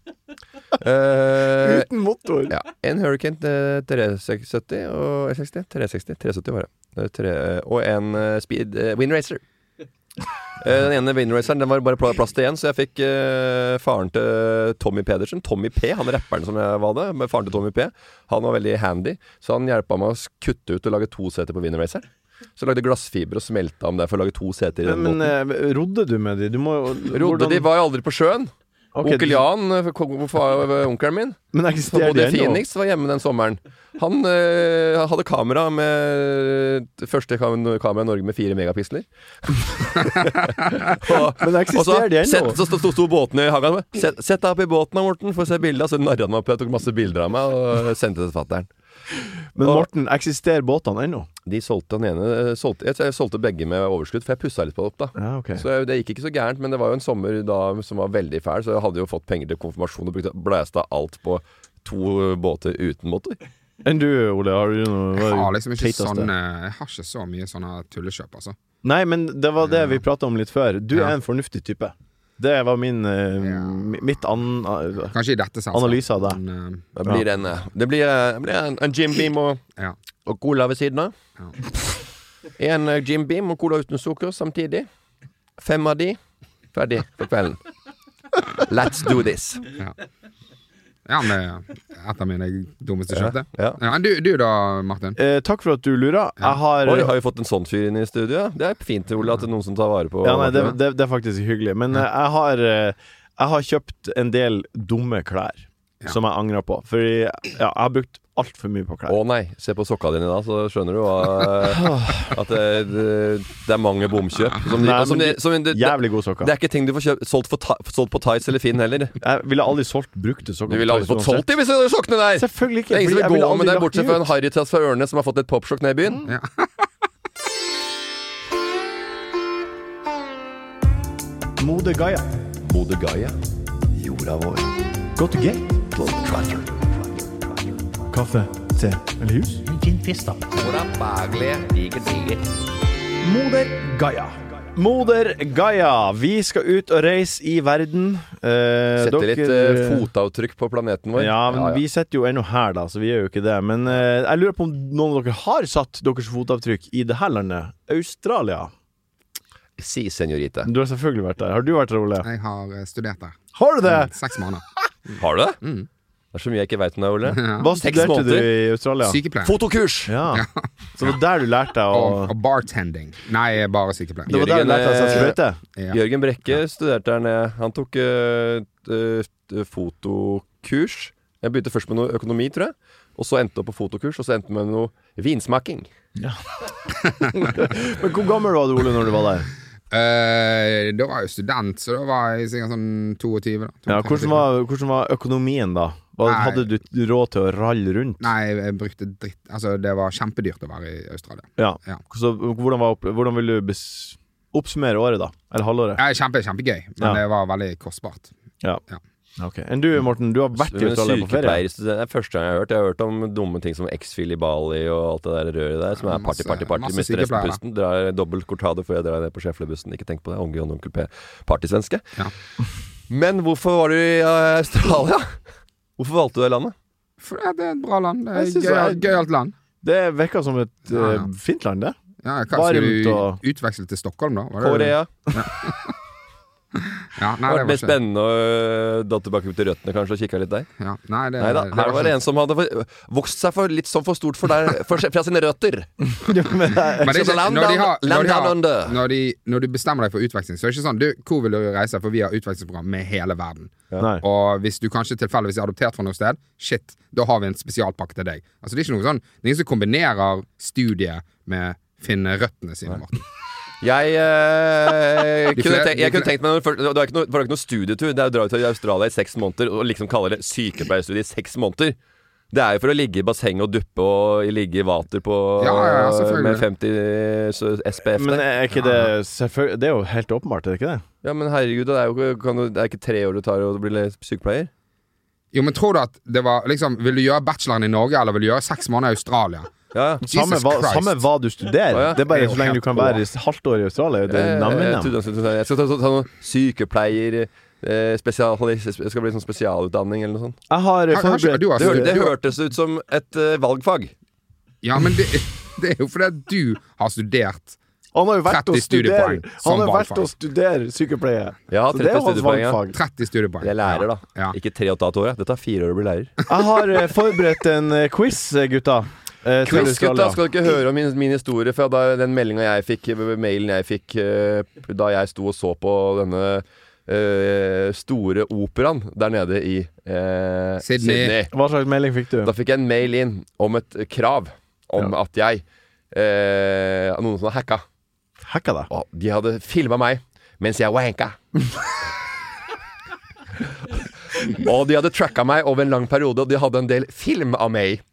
Speaker 3: Eh,
Speaker 2: Uten motor!
Speaker 3: ja, en Hurricane eh, 370 og 60, 360, 370 var det. det er tre, og en eh, Speed eh, Windracer. Eh, den ene Windraceren den var det bare pla- plass til igjen, så jeg fikk eh, faren til Tommy Pedersen. Tommy P, han rapperen som jeg var det, med faren til Tommy P. Han var veldig handy, så han hjelpa meg å s- kutte ut og lage to seter på Windraceren. Så lagde jeg glassfiber og smelta om det for å lage to seter i den
Speaker 2: Men
Speaker 3: båten.
Speaker 2: eh, rodde du med de? Du må jo
Speaker 3: Rodde,
Speaker 2: hvordan-
Speaker 3: de var jo aldri på sjøen.
Speaker 2: Ok,
Speaker 3: Onkel Jan, eh, ko- fa- eh, onkelen min,
Speaker 2: Men
Speaker 3: som
Speaker 2: eksisterer de
Speaker 3: bodde i
Speaker 2: ennå?
Speaker 3: Phoenix, var hjemme den sommeren. Han eh, hadde kamera med første kam- kamera i Norge med fire megapiksler. og,
Speaker 2: Men
Speaker 3: og så,
Speaker 2: eksisterer de
Speaker 3: sett,
Speaker 2: ennå?
Speaker 3: så sto, sto, sto båten i hagen. Sett, sett deg opp i båten, da, Morten, for å se bildet. Så narra han meg opp, jeg tok masse bilder av meg og sendte det til fatter'n.
Speaker 2: Men Morten, eksisterer båtene ennå?
Speaker 3: De solgte den ene eh, solgte, jeg, jeg solgte begge med overskudd, for jeg pussa litt på det opp, da.
Speaker 2: Ja, ok.
Speaker 3: Så det gikk ikke så gærent, men det var jo en sommer da som var veldig fæl, så jeg hadde jo fått penger til konfirmasjon og brukte blæsta alt på to båter uten motor.
Speaker 2: Enn du, Ole? Har du noe hva er
Speaker 5: Jeg har
Speaker 2: det
Speaker 5: liksom ikke
Speaker 2: teiteste?
Speaker 5: sånn eh, Jeg har ikke så mye sånne tullekjøp, altså.
Speaker 2: Nei, men det var det vi prata om litt før. Du
Speaker 5: Ja.
Speaker 2: er en fornuftig type. Det var min eh,
Speaker 5: Ja.
Speaker 2: mi- Mitt an... eh,
Speaker 5: Kanskje i dette selskapet.
Speaker 2: Analyse av det.
Speaker 5: Men, eh,
Speaker 3: Det blir en, eh, det blir, eh, det blir en, en Jim Beam og,
Speaker 5: Ja.
Speaker 3: og cola ved siden av.
Speaker 5: Ja.
Speaker 3: En eh, Jim Beam og cola uten sukker samtidig. Fem av de. Ferdig for kvelden. Let's do this.
Speaker 5: eh, ja, med et av mine dummeste kjøpte.
Speaker 3: Ja.
Speaker 5: Ja, du, du da, Martin?
Speaker 2: Eh, takk for at du lurer. Jeg har
Speaker 3: Oi, har vi fått en sånn fyr inn i studio? Det er fint, Ole, at det er noen som tar vare på
Speaker 2: Ja, nei, det, det, det er faktisk hyggelig. Men eh, jeg har eh, Jeg har kjøpt en del dumme klær som jeg angrer på. Fordi ja, jeg har brukt altfor mye på
Speaker 3: Å
Speaker 2: klær.
Speaker 3: nei, se på sokka dine da, så skjønner du hva, at det, det, det er mange bomkjøp. Som de,
Speaker 2: Nei,
Speaker 3: og som de,
Speaker 2: men
Speaker 3: som de, det,
Speaker 2: Jævlig gode sokker.
Speaker 3: det er ikke ting du får kjøpt, solgt, for, Ti- solgt på Tice eller Finn heller.
Speaker 2: Jeg ville aldri solgt brukte sokker.
Speaker 3: Du ville aldri
Speaker 2: på
Speaker 3: fått
Speaker 2: Toys uansett.
Speaker 3: solgt de hvis du sokkene der!
Speaker 2: Selvfølgelig ikke.
Speaker 3: Det er ingen
Speaker 2: fordi jeg
Speaker 3: som vil
Speaker 2: ville
Speaker 3: gå
Speaker 2: aldri
Speaker 3: med deg,
Speaker 2: lagt
Speaker 3: bortsett
Speaker 2: de
Speaker 3: fra en
Speaker 2: ut.
Speaker 3: harrytass fra Ørnes som har fått et popsjokk ned i byen.
Speaker 2: Mode Gaia.
Speaker 3: Bodø Gaia.
Speaker 4: Jorda vår.
Speaker 2: Go to gate.
Speaker 4: Globe Trotter.
Speaker 2: Kaffe, te eller jus? Moder Gaia. Moder Gaia, vi skal ut og reise i verden. Eh,
Speaker 3: Setter litt eh, fotavtrykk på planeten vår.
Speaker 2: Ja, men vi sitter jo ennå her, da, så vi gjør jo ikke det. Men eh, jeg lurer på om noen av dere har satt deres fotavtrykk i det her landet. Australia.
Speaker 3: Si, senorite.
Speaker 2: Du har selvfølgelig vært der. Har du vært der, Ole?
Speaker 5: Jeg har eh, studert der.
Speaker 2: Har du det?
Speaker 5: Seks måneder.
Speaker 3: Har du det?
Speaker 2: Mm.
Speaker 3: Det er så mye jeg ikke veit om deg, Ole.
Speaker 2: Hva
Speaker 3: Seks
Speaker 2: studerte du i
Speaker 3: måneder.
Speaker 2: Australia?
Speaker 5: Sykepleier.
Speaker 3: Fotokurs!
Speaker 2: Ja. Så det var der du lærte deg å
Speaker 5: Og, og bartending. Nei, bare sykepleier.
Speaker 2: Det var der du lærte deg å
Speaker 5: eh,
Speaker 2: sette sprøyte?
Speaker 5: Ja.
Speaker 3: Jørgen Brekke studerte her nede. Han tok eh, eh, eh, fotokurs. Jeg begynte først med noe økonomi, tror jeg. Og så endte jeg opp på fotokurs, og så endte jeg med noe vinsmaking.
Speaker 2: Men hvor gammel var du, Ole, når du var der?
Speaker 5: Eh, da var jeg jo student, så da var jeg sikkert sånn 22. Da,
Speaker 2: Ja, hvordan, var, hvordan var økonomien da? Hva,
Speaker 5: Nei.
Speaker 2: hadde du råd til å ralle rundt?
Speaker 5: Nei, jeg brukte dritt Altså, det var kjempedyrt å være i Australia.
Speaker 2: Ja.
Speaker 5: Ja.
Speaker 2: Så hvordan, var, opp- hvordan vil du bes, oppsummere året, da? Eller halvåret?
Speaker 5: Ja, kjempe, kjempegøy, men
Speaker 2: Ja.
Speaker 5: det var veldig kostbart.
Speaker 2: Ja.
Speaker 5: Ja.
Speaker 2: Ok. Enn du, Morten? Du har vært i
Speaker 3: Men
Speaker 2: Australia på ferie?
Speaker 3: sykepleierstudent- Det er første gang jeg har hørt. Jeg har hørt om dumme ting som X-Fill i Bali og alt det der røret der, som
Speaker 5: Ja,
Speaker 3: er party,
Speaker 5: masse-
Speaker 3: party, party.
Speaker 5: masse
Speaker 3: Mister
Speaker 5: sykepleiere.
Speaker 3: resten pusten. Drar dobbelt cortado før jeg drar ned på sjeflebussen. Ikke tenk på det. Onkel og onkel P. Partysvenske.
Speaker 5: Ja.
Speaker 3: Men hvorfor var du i eh, Australia? Hvorfor valgte du det landet?
Speaker 5: For det er et bra land. Det
Speaker 2: Jeg synes
Speaker 5: er
Speaker 2: det
Speaker 5: gøyalt
Speaker 2: er-
Speaker 5: gøy gøyalt land.
Speaker 2: Det virker som et
Speaker 5: Ja, ja.
Speaker 2: eh, fint land, det.
Speaker 5: Ja, hva skulle
Speaker 2: Varmt
Speaker 5: du
Speaker 2: og-
Speaker 5: utveksle til Stockholm, da? Var det-
Speaker 3: Korea?
Speaker 5: Ja, nei,
Speaker 3: Det
Speaker 5: det
Speaker 3: var
Speaker 5: var
Speaker 3: mer
Speaker 5: ikke
Speaker 3: spennende å øh, dra tilbake til røttene kanskje og kikke litt der.
Speaker 5: ja, Nei, det,
Speaker 3: Nei da,
Speaker 5: det sånn.
Speaker 3: her var det
Speaker 5: ikke-
Speaker 3: en som hadde for- vokst seg for, litt sånn for stort for der, for, fra sine røtter.
Speaker 5: Men det er
Speaker 3: Så
Speaker 5: ikke,
Speaker 3: land
Speaker 5: når, de
Speaker 3: down-
Speaker 5: har, når,
Speaker 3: land
Speaker 5: de
Speaker 3: down under.
Speaker 5: har, når, de, når du bestemmer deg for utveksling, så er det ikke sånn du, 'Hvor vil du reise?' For vi har utvekslingsprogram med hele verden.
Speaker 2: Nei.
Speaker 5: Og hvis du kanskje tilfeldigvis er adoptert fra noe sted, shit, da har vi en spesialpakke til deg. Altså Det er ikke noe sånn Det er ingen som kombinerer studiet med finne røttene sine, Morten.
Speaker 3: Jeg, øh,
Speaker 5: De
Speaker 3: kunne,
Speaker 5: fle-
Speaker 3: tenkt, jeg
Speaker 5: de
Speaker 3: kunne
Speaker 5: fle-
Speaker 3: tenkt meg noe- for Det var ikke noe, det var ikke noe studietur. Det er å dra ut til Australia i seks måneder og liksom kalle det sykepleierstudie i seks måneder. Det er jo for å ligge i bassenget og duppe og ligge i vater på,
Speaker 5: Ja, ja, ja, selvfølgelig.
Speaker 3: med 50 så SPF.
Speaker 2: Men eh,
Speaker 3: der.
Speaker 2: er ikke det selvfølgelig Det er jo helt åpenbart, er det ikke det?
Speaker 3: ja, men herregud, det er jo ikke- kan, du- det er ikke tre år du tar å bli sykepleier.
Speaker 5: Jo, men tror du at det var liksom Vil du gjøre bacheloren i Norge, eller vil du gjøre seks måneder i Australia?
Speaker 3: Ja, ja.
Speaker 2: Samme
Speaker 5: Jesus
Speaker 2: hva,
Speaker 5: Christ.
Speaker 2: samme hva du studerer.
Speaker 3: Å, ja.
Speaker 2: Det er bare så lenge du kan være i s- halvt år i Australia. Det
Speaker 5: Eh,
Speaker 3: Jeg,
Speaker 2: er nam,
Speaker 3: jeg,
Speaker 2: nam.
Speaker 3: trodde han skulle si- jeg skal ta, ta, ta noen sykepleier eh, spesial, Det skal bli sånn spesialutdanning eller noe sånt.
Speaker 2: Jeg har
Speaker 5: har ikke-
Speaker 2: forberedt
Speaker 5: du har
Speaker 3: Det, hør,
Speaker 5: studert-
Speaker 3: det hørtes ut som et eh, valgfag.
Speaker 5: Ja, men det, det er jo fordi at du har studert
Speaker 2: Han har jo vært
Speaker 5: 30
Speaker 2: å studere
Speaker 5: studiepoeng som
Speaker 2: Han har vært
Speaker 5: valgfag.
Speaker 2: å studere sykepleie.
Speaker 3: Jeg har
Speaker 2: Så det er
Speaker 3: 30
Speaker 2: jo hans
Speaker 3: studiepoeng, ja.
Speaker 2: valgfag.
Speaker 5: 30 studiepoeng.
Speaker 3: Jeg er lærer, da.
Speaker 5: Ja.
Speaker 3: Ikke tre og et halvt år. ja. Det tar fire år å bli lærer.
Speaker 2: Jeg har eh, forberedt en eh, quiz, eh, gutta. eh, til
Speaker 3: Quiz, gutta,
Speaker 2: Australia.
Speaker 3: skal dere ikke høre om min, min historie fra da, den meldinga jeg fikk, eh, mailen jeg fikk eh, da jeg sto og så på denne eh, store operaen der nede i eh,
Speaker 5: Sydney.
Speaker 3: Sydney.
Speaker 2: Hva slags melding fikk du?
Speaker 3: Da fikk jeg en mail inn om et krav om at jeg eh, Noen som hadde hacka.
Speaker 2: Hacka deg.
Speaker 3: Og de hadde filma meg mens jeg wanka. og de hadde tracka meg over en lang periode, og de hadde en del film av meg.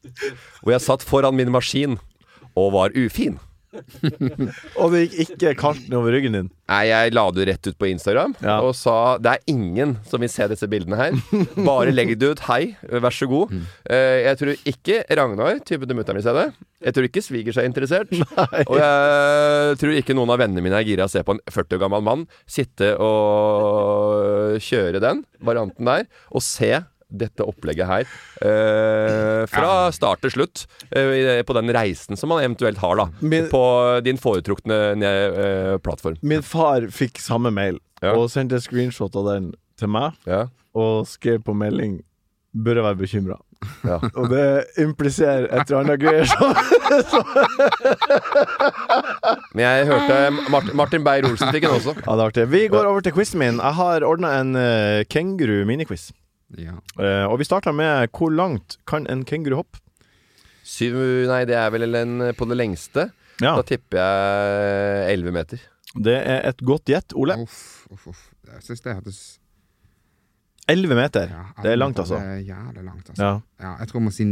Speaker 3: Hvor jeg satt foran min maskin og var ufin.
Speaker 2: Og det gikk ikke kaldt over ryggen din.
Speaker 3: Nei, jeg la det rett ut på Instagram
Speaker 2: Ja.
Speaker 3: og sa det er ingen som vil se disse bildene her. Bare legg det ut. Hei, vær så god.
Speaker 2: Mm.
Speaker 3: Eh, jeg tror ikke Ragnar, typen til mutter'n, vil se det. Jeg tror ikke svigers er interessert. Og jeg tror ikke noen av vennene mine er gira å se på en 40 år gammel mann sitte og kjøre den varianten der, og se dette opplegget her eh, fra start til slutt, eh, på den reisen som man eventuelt har, da.
Speaker 2: Min-
Speaker 3: på din foretrukne eh, plattform.
Speaker 2: Min far fikk samme mail
Speaker 3: Ja.
Speaker 2: og sendte screenshot av den til meg
Speaker 3: Ja.
Speaker 2: og skrev på melding 'Bør jeg være bekymra'.
Speaker 3: Ja.
Speaker 2: Og det impliserer et eller annet greier. som-
Speaker 3: Men jeg hørte Martin, Martin Beyer-Olsen fikk den også.
Speaker 2: Ja, det er artig. Vi går over til quizen min. Jeg har ordna en uh, kenguru-miniquiz.
Speaker 5: Ja.
Speaker 2: Eh, og vi starter med hvor langt kan en kenguru hoppe?
Speaker 3: Syv, nei, det er vel en på det lengste.
Speaker 2: Ja,
Speaker 3: Da tipper jeg 11 meter.
Speaker 2: Det er et godt gjett, Ole.
Speaker 5: Uff, uff, uff. Jeg syns det hørtes
Speaker 2: 11 meter.
Speaker 5: ja,
Speaker 2: Det er langt, altså.
Speaker 5: Det er jævlig langt, altså. Ja.
Speaker 2: Ja.
Speaker 5: jeg tror jeg må si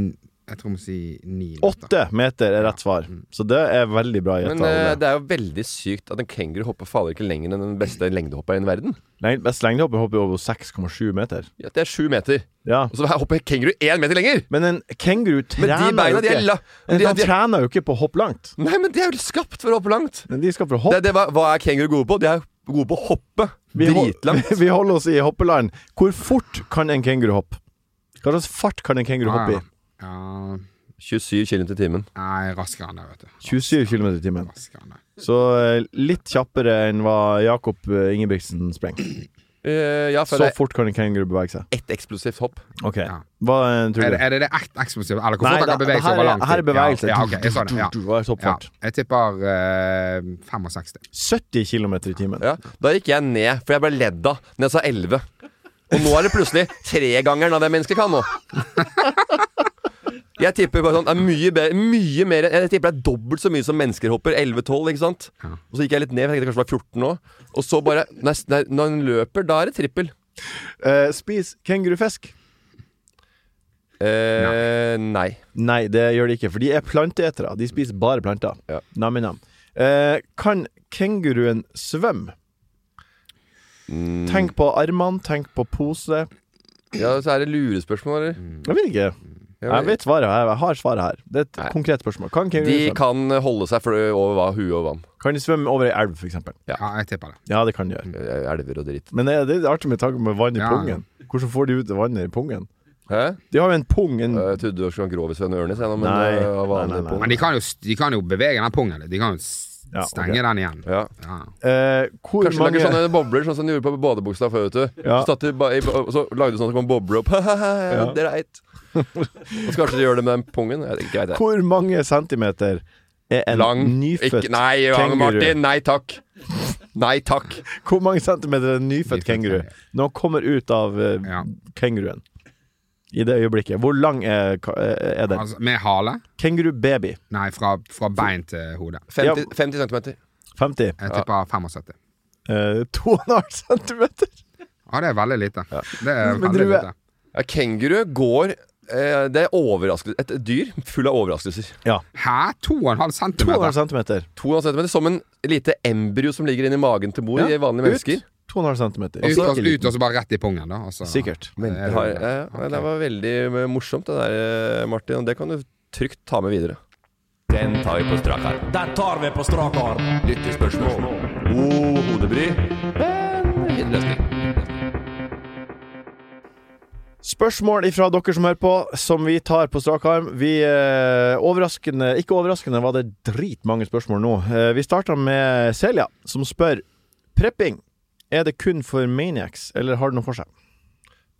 Speaker 5: Jeg tror jeg må si ni. meter.
Speaker 2: 8 meter er rett svar, så det er veldig bra
Speaker 3: Men
Speaker 2: gjetta.
Speaker 3: eh,
Speaker 2: Ole.
Speaker 3: det er jo veldig sykt at en kenguru hopper fader ikke lenger enn den beste lengdehopperen i verden.
Speaker 2: Leng- Best lengdehopp hopper over 6,7 meter.
Speaker 3: Ja, det er sju meter.
Speaker 2: Ja.
Speaker 3: Og så hopper kenguru én meter lenger!
Speaker 2: Men en kenguru
Speaker 3: Men de
Speaker 2: trener
Speaker 3: beina, de
Speaker 2: jo
Speaker 3: er
Speaker 2: ikke
Speaker 3: la...
Speaker 2: Men
Speaker 3: De,
Speaker 2: Han
Speaker 3: de,
Speaker 2: trener jo ikke på å hoppe langt.
Speaker 3: nei, men de er jo skapt for å hoppe langt!
Speaker 2: Men de skal for å
Speaker 3: Det,
Speaker 2: hoppe.
Speaker 3: det, hva, hva er kenguru gode på? De er gode på å hoppe
Speaker 2: Vi, hol-
Speaker 3: dritlangt.
Speaker 2: vi holder oss i hoppeland. Hvor fort kan en kenguru hoppe? Hva slags fart kan en kenguru hoppe i?
Speaker 3: Ah.
Speaker 5: Ja,
Speaker 3: 27 km i timen.
Speaker 5: Nei, raskere enn det, vet du.
Speaker 2: 27 km i timen.
Speaker 5: Raskere enn det.
Speaker 2: Så eh, litt kjappere enn hva Jakob eh, Ingebrigtsen sprengte.
Speaker 3: Eh, ja, for
Speaker 2: Så
Speaker 3: det
Speaker 2: fort kan en kenguru bevege seg.
Speaker 3: er ett eksplosivt hopp.
Speaker 2: Ok,
Speaker 5: Ja.
Speaker 2: Hva eh, tror
Speaker 5: Er det,
Speaker 2: du?
Speaker 5: er det det ett eksplosivt? Eller hvor
Speaker 2: Nei,
Speaker 5: fort han
Speaker 2: da-
Speaker 5: kan
Speaker 2: her
Speaker 5: bevege seg over
Speaker 2: er-
Speaker 5: lang tid?
Speaker 2: her er bevegelse.
Speaker 5: Ja, ja, ok, jeg så det. Ja.
Speaker 2: Du har
Speaker 5: Ja,
Speaker 2: toppfart.
Speaker 5: jeg tipper eh, 65.
Speaker 2: 70 km i timen.
Speaker 3: Ja, da gikk jeg ned, for jeg ble ledd av når jeg sa 11. Og nå er det plutselig tregangeren av det mennesket kan nå. Jeg tipper bare sånn, det er mye, bedre, mye mer Jeg tipper det er dobbelt så mye som mennesker hopper. 11-12, ikke sant? Og så gikk jeg litt ned, for jeg tenkte kanskje det var 14 nå. Og så bare nei, nei, Når den løper, da er det trippel.
Speaker 2: Eh, spis kengurufisk.
Speaker 3: Eh, nei.
Speaker 2: Nei, det gjør de ikke, for de er planteetere. De spiser bare planter.
Speaker 3: Ja.
Speaker 2: Nam, nam. Eh, kan kenguruen svømme? Tenk på armene, tenk på pose.
Speaker 3: Ja, så er det lurespørsmål, eller?
Speaker 2: Jeg vet ikke. Jeg vet svaret, her. jeg har svaret her. Det er et
Speaker 3: Nei.
Speaker 2: konkret spørsmål. Kan
Speaker 3: De
Speaker 2: kenguruen svømme? Kan...
Speaker 3: kan holde seg flø- over hva, hue og vann.
Speaker 2: de svømme over ei elv, for eksempel?
Speaker 5: Ja, jeg tipper det.
Speaker 2: Ja, det kan de gjøre.
Speaker 3: Eh, Elver og dritt.
Speaker 2: Men det er det er artig med tanke med vann i
Speaker 5: Ja.
Speaker 2: pungen. Hvordan får de ut vannet i pungen?
Speaker 3: Hæ?
Speaker 2: De har jo en pung en...
Speaker 3: Jeg trodde du skulle ha Grovis og en Ørnes, jeg nå, men
Speaker 2: Mm. Nei.
Speaker 3: eh, av
Speaker 2: Nei,
Speaker 3: vanlig
Speaker 2: nei, nei.
Speaker 3: på.
Speaker 5: Men de kan jo, de kan jo bevege den pungen litt. De kan jo s-
Speaker 2: Ja, ok.
Speaker 5: Stenger den igjen.
Speaker 3: Ja.
Speaker 5: Ja.
Speaker 2: Eh, hvor
Speaker 3: Kanskje
Speaker 2: mange
Speaker 3: lager sånne bobler, sånn som de gjorde på badebuksa før. vet du
Speaker 2: Ja.
Speaker 3: så, satt de ba i, og så lagde de sånn at det kom bobler opp. ja. Det er eit. Og så kanskje de gjør det med den pungen. Jeg vet ikke, jeg vet ikke.
Speaker 2: Hvor mange centimeter er en
Speaker 3: Lang
Speaker 2: nyfødt
Speaker 3: ikke, Nei, Johan
Speaker 2: kenguru?
Speaker 3: Martin, nei takk. Nei takk.
Speaker 2: Hvor mange centimeter er en nyfødt
Speaker 5: Nyfødt
Speaker 2: kenguru
Speaker 5: kenguru.
Speaker 2: når han kommer ut av eh,
Speaker 5: Ja.
Speaker 2: kenguruen? I det øyeblikket. Hvor lang er, ka- eh, er den?
Speaker 5: Altså, med hale?
Speaker 2: Kengurubaby.
Speaker 5: Nei, fra, fra bein til hode.
Speaker 3: 50, 50 centimeter.
Speaker 2: 50.
Speaker 5: Jeg tipper 75.
Speaker 2: Eh, 2,5 centimeter.
Speaker 5: Ja, det er veldig lite. Det er
Speaker 2: Men
Speaker 5: veldig
Speaker 2: du er-
Speaker 5: lite.
Speaker 3: Ja, kenguru går eh, Det er overraskelse. Et dyr full av overraskelser.
Speaker 5: Hæ? 2,5
Speaker 2: 2,5
Speaker 5: centimeter?
Speaker 2: centimeter.
Speaker 3: 2,5 centimeter Som en lite embryo som ligger inni magen til mor i vanlige mennesker.
Speaker 2: Ut. 2,5 centimeter.
Speaker 5: Ut, og,
Speaker 2: Ikke liten.
Speaker 5: ut og så bare rett i pungen, da. Altså, og så-
Speaker 2: Sikkert.
Speaker 5: Er
Speaker 3: Det,
Speaker 5: det-
Speaker 3: har, altså. ja, ja, ja, det var veldig eh, morsomt, det der, eh, Martin. Og det kan du trygt ta med videre. Den tar vi på strak arm.
Speaker 4: Den tar vi på strak arm.
Speaker 3: Lyttespørsmål. God hodebry. Men løsning.
Speaker 2: Spørsmål ifra dere som hører på, som vi tar på strak arm. Vi, eh, overraskende, ikke overraskende var det dritmange spørsmål nå. Eh, vi starter med Selja, som spør Prepping, er det kun for maniacs, eller har det noe for seg?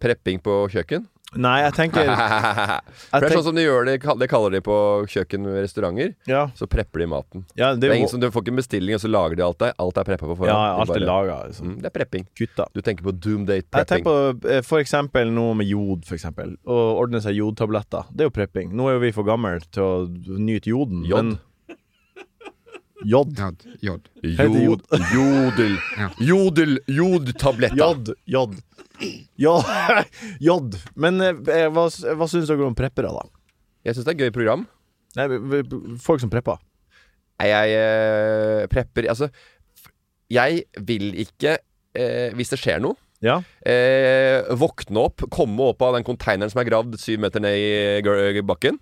Speaker 3: Prepping på kjøkken.
Speaker 2: Nei, jeg tenker, jeg
Speaker 3: For det er sånn
Speaker 2: tenker
Speaker 3: som de gjør det, det kaller de på kjøkken ved restauranter.
Speaker 2: ja,
Speaker 3: Så prepper de maten.
Speaker 2: ja,
Speaker 3: Det
Speaker 2: det
Speaker 3: er
Speaker 2: er
Speaker 3: ingen
Speaker 2: jo
Speaker 3: som, du får ikke en bestilling, og så lager de alt der. Alt er preppa på forhånd.
Speaker 2: ja,
Speaker 3: De
Speaker 2: alt er
Speaker 3: bare-
Speaker 2: laga. Liksom.
Speaker 3: Mm, det er prepping.
Speaker 2: Kutta.
Speaker 3: Du tenker på doom date
Speaker 2: Jeg
Speaker 3: prepping.
Speaker 2: tenker på eh, for eksempel noe med jod, for eksempel. Å ordne seg jodtabletter. Det er jo prepping. Nå er jo vi for gamle til å nyte joden.
Speaker 3: Jod.
Speaker 2: men- Jod.
Speaker 5: Ja, jod.
Speaker 2: Heter
Speaker 3: Jod, jodel.
Speaker 5: Ja.
Speaker 3: Jodel, jodtabletter.
Speaker 2: Jod, jod. Jod. jod. Men eh, hva, hva syns dere om preppere, da?
Speaker 3: Jeg syns det er et gøy program.
Speaker 2: Nei, v- v- folk som prepper.
Speaker 3: Nei, Jeg eh, prepper Altså, f- jeg vil ikke, eh, hvis det skjer noe
Speaker 2: Ja.
Speaker 3: eh, Våkne opp, komme opp av den konteineren som er gravd syv meter ned i eh, gr- bakken.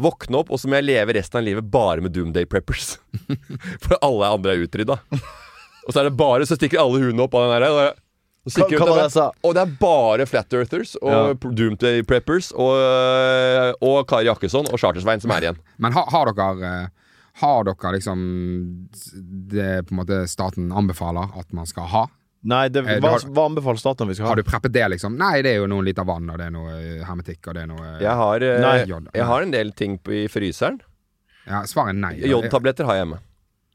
Speaker 3: Våkne opp, og så må jeg leve resten av livet bare med Doomday Preppers. For alle andre er utrydda. Og så er det bare, så stikker alle hundene opp av den der. Og,
Speaker 2: Hva,
Speaker 3: stikker ut
Speaker 2: hva var
Speaker 3: av
Speaker 2: det
Speaker 3: den.
Speaker 2: jeg sa?
Speaker 3: og det er bare Flat Earthers og
Speaker 2: Ja.
Speaker 3: pr- Doomday Preppers og, eh, og Kari Jakkesson og Chartersvein som er igjen.
Speaker 5: Men har, har dere eh, Har dere liksom det på en måte staten anbefaler at man skal ha?
Speaker 2: Nei, det,
Speaker 5: Eh, du
Speaker 2: hva,
Speaker 5: har-
Speaker 2: hva anbefaler staten vi skal ha?
Speaker 5: Har du preppet det, liksom? Nei, det er jo noen liter vann, og det er noe eh, hermetikk, og det er noe eh,
Speaker 3: Jeg har, eh,
Speaker 2: Nei.
Speaker 5: Jod.
Speaker 3: jeg har en del ting på, i fryseren.
Speaker 5: ja Svaret er nei.
Speaker 3: Jodtabletter har jeg hjemme.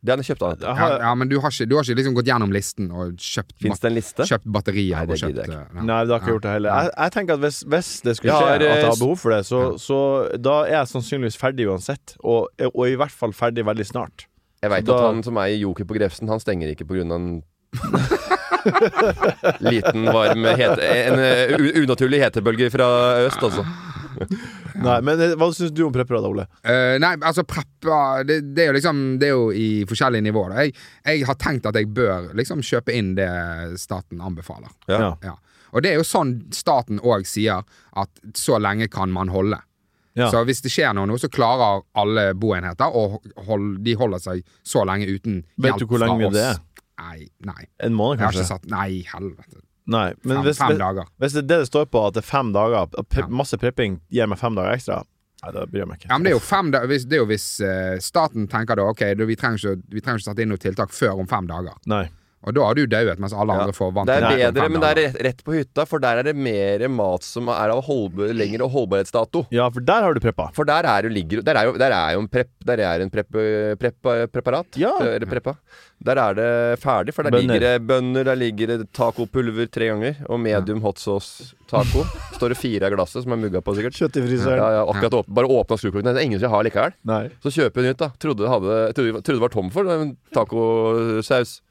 Speaker 3: Det har jeg kjøpt av dette.
Speaker 2: Jeg
Speaker 5: Ja,
Speaker 2: har-
Speaker 5: ja, men du har ikke, du har ikke liksom gått gjennom listen og kjøpt,
Speaker 3: Fins
Speaker 5: bat-
Speaker 3: det en liste?
Speaker 5: kjøpt batterier?
Speaker 3: Nei, det
Speaker 5: og
Speaker 3: gidder
Speaker 5: kjøpt,
Speaker 3: jeg
Speaker 5: eh, ja.
Speaker 2: Nei, det har ikke
Speaker 5: Ja.
Speaker 2: gjort det heller. Jeg, jeg tenker at hvis, hvis det skulle
Speaker 3: Jeg
Speaker 2: skje
Speaker 3: har,
Speaker 2: at jeg
Speaker 3: eh,
Speaker 2: har behov for det, så, så da er jeg sannsynligvis ferdig uansett. Og, og i hvert fall ferdig veldig snart.
Speaker 3: Jeg veit
Speaker 2: Da-
Speaker 3: at han som er i Joker på Grefsen, han stenger ikke pga. en liten, varm hete, En eh, u- unaturlig hetebølge fra øst, altså.
Speaker 2: Nei, men eh, hva syns du om prepper, da, Ole?
Speaker 5: Eh, nei, altså preppa det, det er jo liksom Det er jo i forskjellige nivåer. da. Jeg, jeg har tenkt at jeg bør liksom kjøpe inn det staten anbefaler.
Speaker 2: Ja.
Speaker 5: Ja. Og det er jo sånn staten òg sier at så lenge kan man holde.
Speaker 2: Ja.
Speaker 5: Så hvis det skjer noe nå, så klarer alle boenheter å hold, De holder seg så lenge uten
Speaker 2: Vet
Speaker 5: hjelp
Speaker 2: du hvor
Speaker 5: fra
Speaker 2: lenge
Speaker 5: oss.
Speaker 2: det er?
Speaker 5: Nei, nei.
Speaker 2: En måned,
Speaker 5: Jeg har
Speaker 2: kanskje?
Speaker 5: ikke satt Nei, helvete.
Speaker 2: Nei, men
Speaker 5: Fem,
Speaker 2: hvis,
Speaker 5: fem
Speaker 2: hvis,
Speaker 5: dager.
Speaker 2: hvis det er det det står på, at det er fem dager, at pre
Speaker 5: Ja.
Speaker 2: masse prepping gir meg fem dager ekstra, nei, da bryr jeg meg ikke.
Speaker 5: Ja, men det er jo fem dager hvis, Det er jo hvis eh, staten tenker da ok, da, vi trenger ikke vi trenger ikke sette inn noe tiltak før om fem dager.
Speaker 2: Nei.
Speaker 5: Og da har du dauet, mens alle
Speaker 3: Ja.
Speaker 5: andre får vann
Speaker 3: Det er
Speaker 5: til maten
Speaker 3: bedre,
Speaker 5: fem
Speaker 3: men det er
Speaker 5: dager.
Speaker 3: rett, rett på hytta, for der er det mer mat som er av holdbar, lengre holdbarhetsdato.
Speaker 2: Ja, for der har du preppa.
Speaker 3: For der er jo, ligger, der er jo, der er jo en prep, der er en prep, prep, preparat.
Speaker 2: Ja.
Speaker 3: Eller preppa. Der er det ferdig, for der
Speaker 2: Bønner.
Speaker 3: ligger det bønner, der ligger det tacopulver tre ganger, og medium hot sauce taco. Står det fire av glasset, som er mugga på sikkert.
Speaker 2: Kjøtt i
Speaker 3: Ja,
Speaker 2: fryseren.
Speaker 3: ja, akkurat åp Bare åpna skrukorken. Det er ingen som jeg har likevel.
Speaker 2: Nei.
Speaker 3: Så kjøper jeg nytt, da. Trodde det, hadde, trodde, trodde det var tom for det, men tacosaus.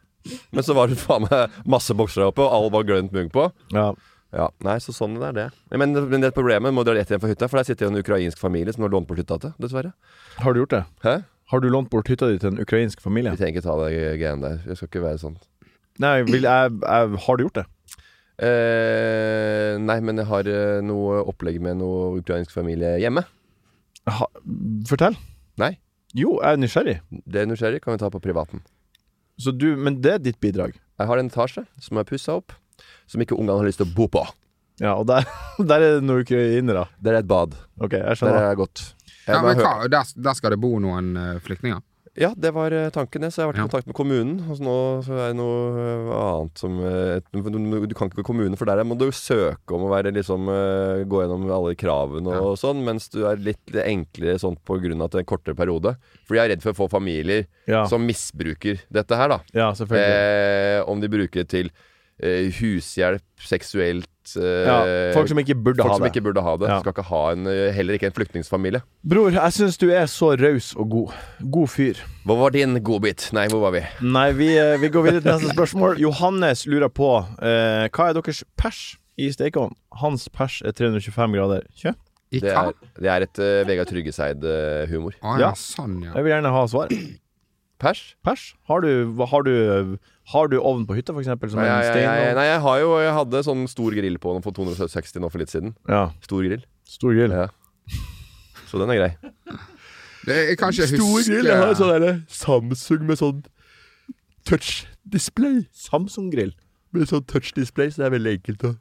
Speaker 3: Men så var det faen meg masse bokser der oppe, og all var grønt mugg på.
Speaker 2: Ja.
Speaker 3: Ja, nei, så sånn det er det. Men, men det problemet må dra rett igjen fra hytta, for der sitter jo en ukrainsk familie som har lånt bort hytta til, dessverre.
Speaker 2: Har du gjort det?
Speaker 3: Hæ?
Speaker 2: Har du lånt bort hytta di til en ukrainsk
Speaker 3: Vi
Speaker 2: familie?
Speaker 3: trenger ikke ta det greiene der. Det skal ikke være sånn.
Speaker 2: Nei, vil jeg, jeg Har du gjort det?
Speaker 3: Eh, nei, men jeg har eh, noe opplegg med noe ukrainsk familie hjemme.
Speaker 2: Ha, fortell.
Speaker 3: Nei.
Speaker 2: Jo, jeg er nysgjerrig.
Speaker 3: Det er nysgjerrig, kan vi ta på privaten.
Speaker 2: Så du, men det er ditt bidrag.
Speaker 3: Jeg har en etasje som er pussa opp, som ikke ungene har lyst til å bo på.
Speaker 2: Ja, og der, der er det noen ukrainere.
Speaker 3: Der er et bad.
Speaker 2: OK, jeg
Speaker 3: Der
Speaker 2: skjønner.
Speaker 3: er det godt. Jeg
Speaker 5: Ja,
Speaker 3: bare
Speaker 5: men
Speaker 3: hør-
Speaker 5: hva, der, der skal det bo noen eh, flyktninger.
Speaker 3: Ja, det var eh, tanken. det, Så jeg har vært i
Speaker 5: Ja.
Speaker 3: kontakt med kommunen. Og så nå så er det noe eh, annet som eh, et- Du du kan ikke gå kommunen, for der må du søke om å være liksom eh, Gå gjennom alle kravene og sånn, mens du er litt enklere sånn på grunn av at det er en kortere periode. For jeg er redd for å få familier
Speaker 2: Ja,
Speaker 3: som misbruker dette her, da.
Speaker 2: ja selvfølgelig.
Speaker 3: Eh, om de bruker det til eh, hushjelp, seksuelt eh,
Speaker 2: Ja, folk som ikke burde
Speaker 3: folk
Speaker 2: ha
Speaker 3: som
Speaker 2: det.
Speaker 3: ikke burde ha det.
Speaker 2: Ja.
Speaker 3: Skal ikke ha en, eh, heller ikke en flyktningfamilie.
Speaker 2: Bror, jeg syns du er så raus og god. God fyr.
Speaker 3: Hva var din godbit? Nei, hvor var vi?
Speaker 2: Nei, vi, eh, vi går videre til neste spørsmål. Johannes lurer på eh, hva er deres pers i stekeovnen? Hans pers er 325 grader. Kjø?
Speaker 5: I
Speaker 3: Det
Speaker 5: hva?
Speaker 3: er, det er et eh, Vegard eh, Tryggeseid-humor.
Speaker 5: Å ja,
Speaker 2: Ja.
Speaker 5: sånn, ja.
Speaker 2: Jeg vil gjerne ha svar.
Speaker 3: Pers?
Speaker 2: Pers? Har du, hva- har du, har du ovn på hytta, for eksempel? Som
Speaker 3: Nei,
Speaker 2: en
Speaker 3: jeg,
Speaker 2: stein?
Speaker 3: jeg, nei, jeg har jo Jeg hadde sånn stor grill på den for 260 nå for litt siden.
Speaker 2: Ja.
Speaker 3: Stor grill.
Speaker 2: Stor grill.
Speaker 3: Ja. Så den er grei.
Speaker 5: Det, jeg kan ikke huske
Speaker 2: altså.
Speaker 3: sånn derre Samsung med sånn touch-display.
Speaker 2: Samsung-grill.
Speaker 3: Med sånn touch-display, så det er veldig enkelt å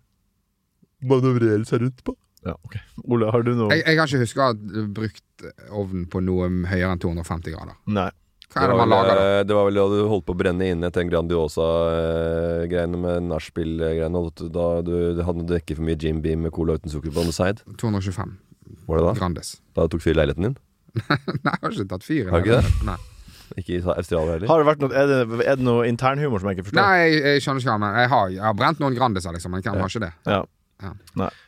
Speaker 3: manøvrere seg rundt på.
Speaker 2: Ja, ok. Ole, har du noe?
Speaker 5: jeg, jeg kan ikke huske å ha brukt ovnen på noe høyere enn 250 grader.
Speaker 2: Nei.
Speaker 5: Hva er det man lager da?
Speaker 3: eh, det var vel da du holdt på å brenne inne etter den Grandiosa-greiene eh, med nachspiel-greiene. og at du- Da du, du hadde drukket for mye Jim Beam med cola uten sukker på on the side.
Speaker 5: 225
Speaker 3: Var det da?
Speaker 5: Grandis.
Speaker 3: Da det tok fyr i leiligheten din?
Speaker 5: Nei, jeg har ikke tatt fyr. i
Speaker 3: Har du ikke
Speaker 5: Nei,
Speaker 3: Ikke i Australia heller?
Speaker 2: Har det vært noe, er, det, er det noe internhumor som jeg ikke forstår?
Speaker 5: Nei jeg, jeg skjønner ikke hva han mener. Jeg har, jeg har brent noen Grandiser, liksom, men hvem har ikke det?
Speaker 2: Ja.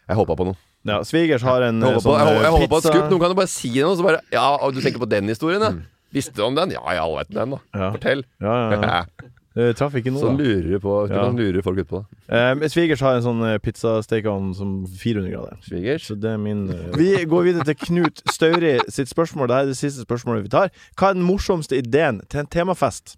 Speaker 3: Jeg håpa på noe.
Speaker 2: ja. Svigers har en eh,
Speaker 3: Jeg håper på,
Speaker 2: sånn
Speaker 3: jeg, håper- jeg
Speaker 2: eh,
Speaker 3: håper på et
Speaker 2: pizza- Mm.
Speaker 3: skup. Noen kan jo bare si noe, og så bare Ja, og du tenker på den historien, ja? Visste du om den? Ja, jeg vet den, da.
Speaker 2: Ja.
Speaker 3: Fortell.
Speaker 2: Ja, ja, ja. Eh, Traff ikke noe,
Speaker 3: Sånn
Speaker 2: da.
Speaker 3: lurer du på
Speaker 2: Ja.
Speaker 3: Hvordan lurer folk ut på det?
Speaker 2: Eh, Svigers har en sånn eh, pizzastekeovn som 400 sånn grader.
Speaker 3: Svigers?
Speaker 2: Så det er min eh, Vi går videre til Knut Stauri sitt spørsmål. Dette er det siste spørsmålet vi tar. Hva er den morsomste ideen til en temafest?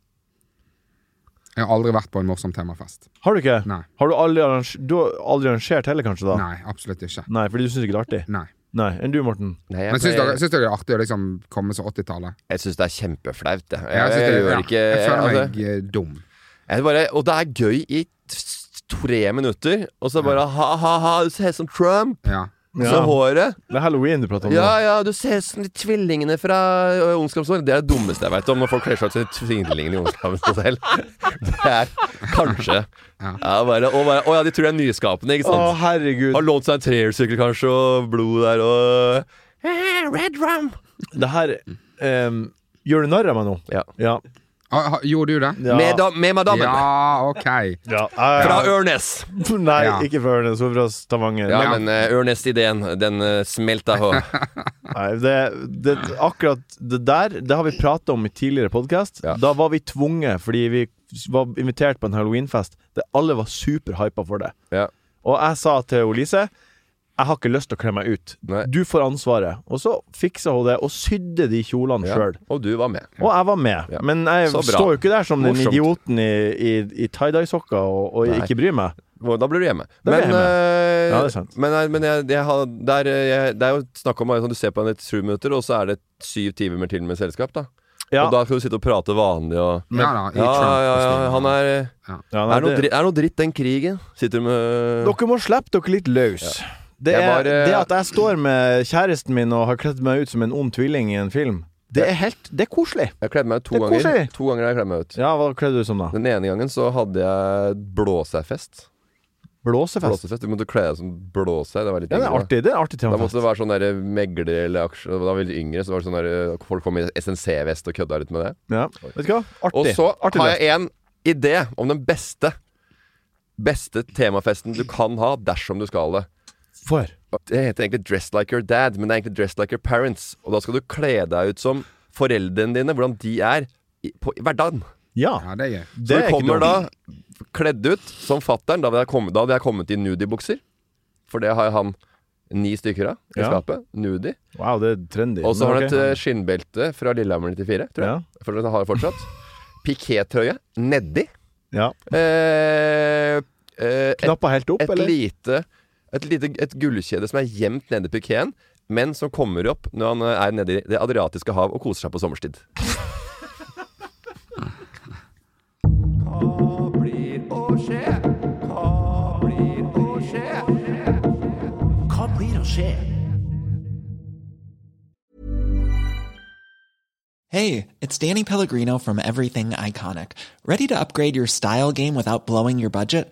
Speaker 5: Jeg har aldri vært på en morsom temafest.
Speaker 2: Har du ikke?
Speaker 5: Nei.
Speaker 2: Har du aldri, arrange- du har aldri arrangert heller, kanskje? da?
Speaker 5: Nei, absolutt ikke.
Speaker 2: Nei, fordi du syns ikke det er artig?
Speaker 5: Nei.
Speaker 2: Nei. Enn du, Morten?
Speaker 3: Nei,
Speaker 5: Men
Speaker 3: jeg,
Speaker 5: syns dere,
Speaker 3: jeg,
Speaker 5: syns dere det er artig å liksom komme så 80-tallet?
Speaker 3: jeg syns det er kjempeflaut. Jeg,
Speaker 5: Jeg,
Speaker 3: jeg,
Speaker 5: syns det-
Speaker 3: gjør
Speaker 5: ja,
Speaker 3: ikke
Speaker 5: jeg føler meg
Speaker 3: altså,
Speaker 5: eh, dum.
Speaker 3: jeg bare, Og det er gøy i t- tre minutter, og så bare ha-ha-ha, du ser ut som Trump.
Speaker 5: Ja.
Speaker 3: Og Så håret.
Speaker 2: Det er halloween du prater om. nå.
Speaker 3: Ja, ja, du ser ut som de tvillingene fra ø, Ondskapsår. Det er det dummeste jeg veit om, når folk kler seg ut som de tvillingene i Ondskapens selv. Det er kanskje
Speaker 5: Ja.
Speaker 3: ja, bare, og bare, Å ja, de tror det er nyskapende, ikke
Speaker 2: Å,
Speaker 3: sant?
Speaker 2: herregud.
Speaker 3: Har lånt seg en trehjulssykkel, kanskje, og blod der, og Eh, Red rum!
Speaker 2: Det her em, Gjør du narr av meg nå?
Speaker 3: Ja.
Speaker 2: Ja.
Speaker 5: Ah, ha- Gjorde du det?
Speaker 2: ja.
Speaker 3: Med, da, med madammen.
Speaker 5: Ja, OK.
Speaker 2: Ja. Ah,
Speaker 3: Fra
Speaker 2: ja.
Speaker 3: Ørnes.
Speaker 2: Nei,
Speaker 5: Ja.
Speaker 2: ikke fra Ørnes, hun er fra Stavanger.
Speaker 3: Ja,
Speaker 5: Ja.
Speaker 3: men uh, Ørnes-ideen, den uh, smelta hå.
Speaker 2: Nei, det, det, akkurat det der Det har vi pratet om i tidligere podkast.
Speaker 3: Ja.
Speaker 2: Da var vi tvunget, fordi vi var invitert på en halloweenfest der alle var superhypa for det.
Speaker 3: Ja.
Speaker 2: Og jeg sa til Olise jeg har ikke lyst til å kle meg ut.
Speaker 3: Nei.
Speaker 2: Du får ansvaret. Og så fiksa hun det, og sydde de kjolene
Speaker 3: Ja.
Speaker 2: sjøl.
Speaker 3: Og du var med.
Speaker 2: Og jeg var med.
Speaker 3: Ja.
Speaker 2: Men jeg
Speaker 3: Så bra.
Speaker 2: står jo ikke der som den
Speaker 3: Morsomt.
Speaker 2: idioten i, i, i tie-dye-sokker og, og
Speaker 3: Nei.
Speaker 2: ikke bryr meg.
Speaker 3: Og Da blir du hjemme.
Speaker 2: Da blir jeg
Speaker 3: men eh,
Speaker 2: Ja, det er sant.
Speaker 3: men, eh, men jeg, jeg har, der, eh, jeg, det er jo snakk om at du ser på en i sju minutter, og så er det syv timer til med selskap. da
Speaker 2: Ja,
Speaker 3: Og da skal du sitte og prate vanlig og
Speaker 5: Ja da. i
Speaker 3: Ja, ja, ja,
Speaker 5: Trump-kostyme.
Speaker 3: han er eh,
Speaker 2: ja,
Speaker 3: er
Speaker 2: nei,
Speaker 3: noe,
Speaker 2: det-
Speaker 3: dritt, er noe dritt, den krigen. Sitter du med
Speaker 2: Dere må slippe dere litt løs. Det,
Speaker 3: Jeg
Speaker 2: er,
Speaker 3: bare-
Speaker 2: det at Eh. jeg står med kjæresten min og har kledd meg ut som en ond tvilling i en film, det er helt Det er koselig.
Speaker 3: Jeg kledde meg ut to
Speaker 2: Det er
Speaker 3: ganger.
Speaker 2: koselig.
Speaker 3: To ganger har jeg kledd meg ut.
Speaker 2: Ja, hva kledde du som da?
Speaker 3: Den ene gangen så hadde jeg blåsefest.
Speaker 2: Blåsefest.
Speaker 3: blåsefest. Du måtte kle deg som blåse. Det var litt
Speaker 2: Ja, det er
Speaker 3: yngre.
Speaker 2: artig. Det er en artig
Speaker 3: Da måtte
Speaker 2: temafest.
Speaker 3: det være sånn der megler eller aksjer Da var jeg veldig yngre, så var det sånn der Folk kom i SNC-vest og kødda litt med det.
Speaker 2: Ja. Vet du hva?
Speaker 3: Og
Speaker 2: Artig.
Speaker 3: så
Speaker 2: artig
Speaker 3: har
Speaker 2: løst.
Speaker 3: jeg en idé om den beste Beste temafesten du kan ha dersom du skal det.
Speaker 2: For.
Speaker 3: Det heter egentlig 'Dress like your dad', men det er egentlig 'Dress like your parents'. Og da skal du kle deg ut som foreldrene dine, hvordan de er i, på, i hverdagen.
Speaker 2: Ja.
Speaker 5: Ja, det er gøy.
Speaker 2: Det
Speaker 3: Så du
Speaker 2: er ikke dumt.
Speaker 3: kommer da kledd ut som fattern. Da, hadde jeg kommet- da hadde jeg kommet i nudiebukser. For det har han ni stykker av i
Speaker 2: Ja.
Speaker 3: skapet. Nudie.
Speaker 2: Wow, det er trendy.
Speaker 3: Og så
Speaker 2: Men
Speaker 3: har han
Speaker 2: ok.
Speaker 3: et eh, skinnbelte fra Lillehammer 94, tror jeg. For det har jeg fortsatt. Pikétrøye nedi.
Speaker 2: Ja.
Speaker 3: Eh, eh, et,
Speaker 2: Knappa helt opp,
Speaker 3: et
Speaker 2: eller?
Speaker 3: lite Et lite et gullkjede som er gjemt nedi pikeen, men som kommer opp når han eh, er nedi Det adriatiske hav og koser seg på sommerstid. Hva blir å skje? Hva blir å skje?
Speaker 4: Hva blir å skje?
Speaker 8: Hey, it's Danny Pellegrino from Everything Iconic. Ready to upgrade your style game without blowing your budget?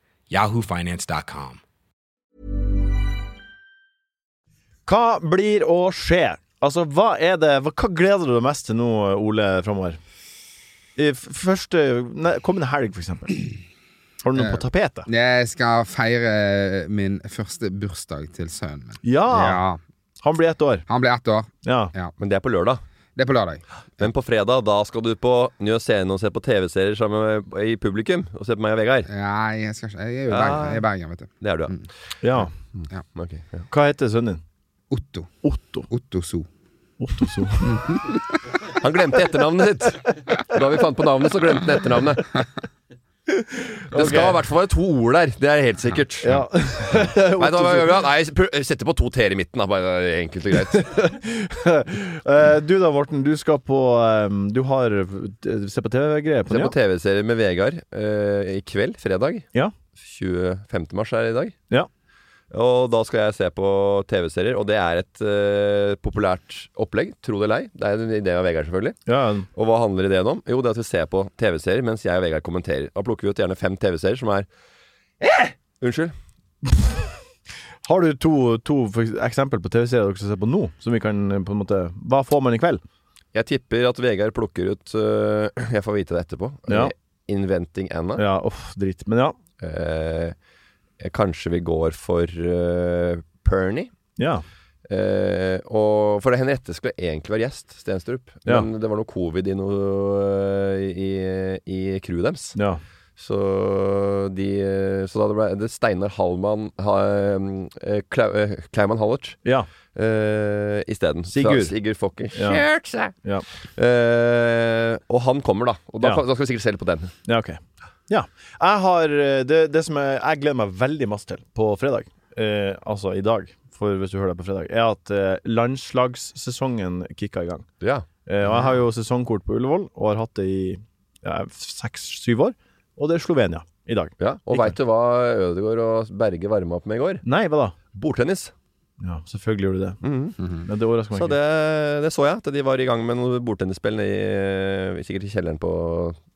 Speaker 6: yahoofinance.com.
Speaker 2: Hva blir å skje? Altså, hva er det Hva, hva gleder du deg mest til nå, Ole, framover? I f- første nei, Kommende helg, for eksempel. Har du noe på tapetet?
Speaker 5: Jeg skal feire min første bursdag til sønnen min.
Speaker 2: Ja!
Speaker 5: Ja.
Speaker 2: Han blir ett år.
Speaker 5: Han blir ett år.
Speaker 2: Ja.
Speaker 3: Men det er på lørdag.
Speaker 5: Det er på lørdag.
Speaker 3: Men på fredag, da skal du på Njø Scene og se på TV-serier sammen med i publikum. Og se på meg og Vegard.
Speaker 5: Nei, jeg skal ikke Jeg er jo i Bergen,
Speaker 2: Eh.
Speaker 5: jeg er i Bergen vet du.
Speaker 3: Det er du, ja.
Speaker 2: Mm. ja.
Speaker 3: Ok, ja.
Speaker 2: Hva heter sønnen din?
Speaker 5: Otto.
Speaker 2: Otto.
Speaker 5: Otto So.
Speaker 2: Otto So.
Speaker 3: Han glemte etternavnet sitt! Da vi fant på navnet, så glemte han etternavnet. Det skal i hvert fall være to ord der. Det er helt sikkert.
Speaker 2: Ja.
Speaker 3: Nei, da gjør vi det. Nei, pr- setter på to t-er i midten, da. Bare enkelt og greit.
Speaker 2: Eh, du da, Morten. Du skal på eh, Du har eh, Se på TV-greier på
Speaker 3: Se på
Speaker 2: Njø?
Speaker 3: TV-serier med Vegard eh, i kveld, fredag.
Speaker 2: Ja.
Speaker 3: 25. mars er det i dag.
Speaker 2: Ja.
Speaker 3: Og da skal jeg se på TV-serier, og det er et eh, populært opplegg, tro det eller ei. Det er en idé av Vegard, selvfølgelig.
Speaker 2: ja.
Speaker 3: Og hva handler ideen om? Jo, det er at vi ser på TV-serier mens jeg og Vegard kommenterer. Da plukker vi ut gjerne fem TV-serier som er eh! Unnskyld.
Speaker 2: Har du to, to for eksempel på TV-serier dere skal se på nå? Som vi kan eh, på en måte Hva får man i kveld?
Speaker 3: Jeg tipper at Vegard plukker ut eh, Jeg får vite det etterpå.
Speaker 2: Ja.
Speaker 3: Eh, Inventing Anna.
Speaker 2: Ja, uff, dritt. Men ja.
Speaker 3: Eh, eh, kanskje vi går for eh, Pernie.
Speaker 2: Ja.
Speaker 3: Eh, og for Henriette skulle egentlig være gjest, Stenstrup.
Speaker 2: Ja.
Speaker 3: Men det var noe covid i, noe, øh, i, i crewet deres.
Speaker 2: ja.
Speaker 3: Så, de, så da det ble det er Steinar Hallmann ha, eh, Klau, eh, Klaumann Hallert
Speaker 2: ja.
Speaker 3: eh, isteden. Fra
Speaker 2: Sigurd.
Speaker 3: Sigurd fucking
Speaker 2: Ja.
Speaker 3: kjørt seg!
Speaker 2: Ja.
Speaker 3: Eh, og han kommer, da. Og da,
Speaker 2: Ja.
Speaker 3: kan- da skal vi sikkert se litt på den.
Speaker 2: Ja, ok. Ja. Jeg har eh, det, det som jeg, jeg gleder meg veldig masse til på fredag, eh, altså i dag, for hvis du hører det på fredag, er at eh, landslagssesongen kicka i gang.
Speaker 3: Ja.
Speaker 2: Eh, og jeg har jo sesongkort på Ullevål, og har hatt det i ja, seks-syv år. Og det er Slovenia i dag.
Speaker 3: Ja, og
Speaker 2: Ikke.
Speaker 3: veit du hva Ødegaard og Berge varma opp med i går?
Speaker 2: Nei, hva da?
Speaker 3: Bordtennis.
Speaker 2: Ja, Mhm. selvfølgelig gjorde du det. Men det overrasker meg
Speaker 3: Så
Speaker 2: ikke.
Speaker 3: det, det så jeg, at de var i gang med noen bordtennisspill i, eh, sikkert i kjelleren på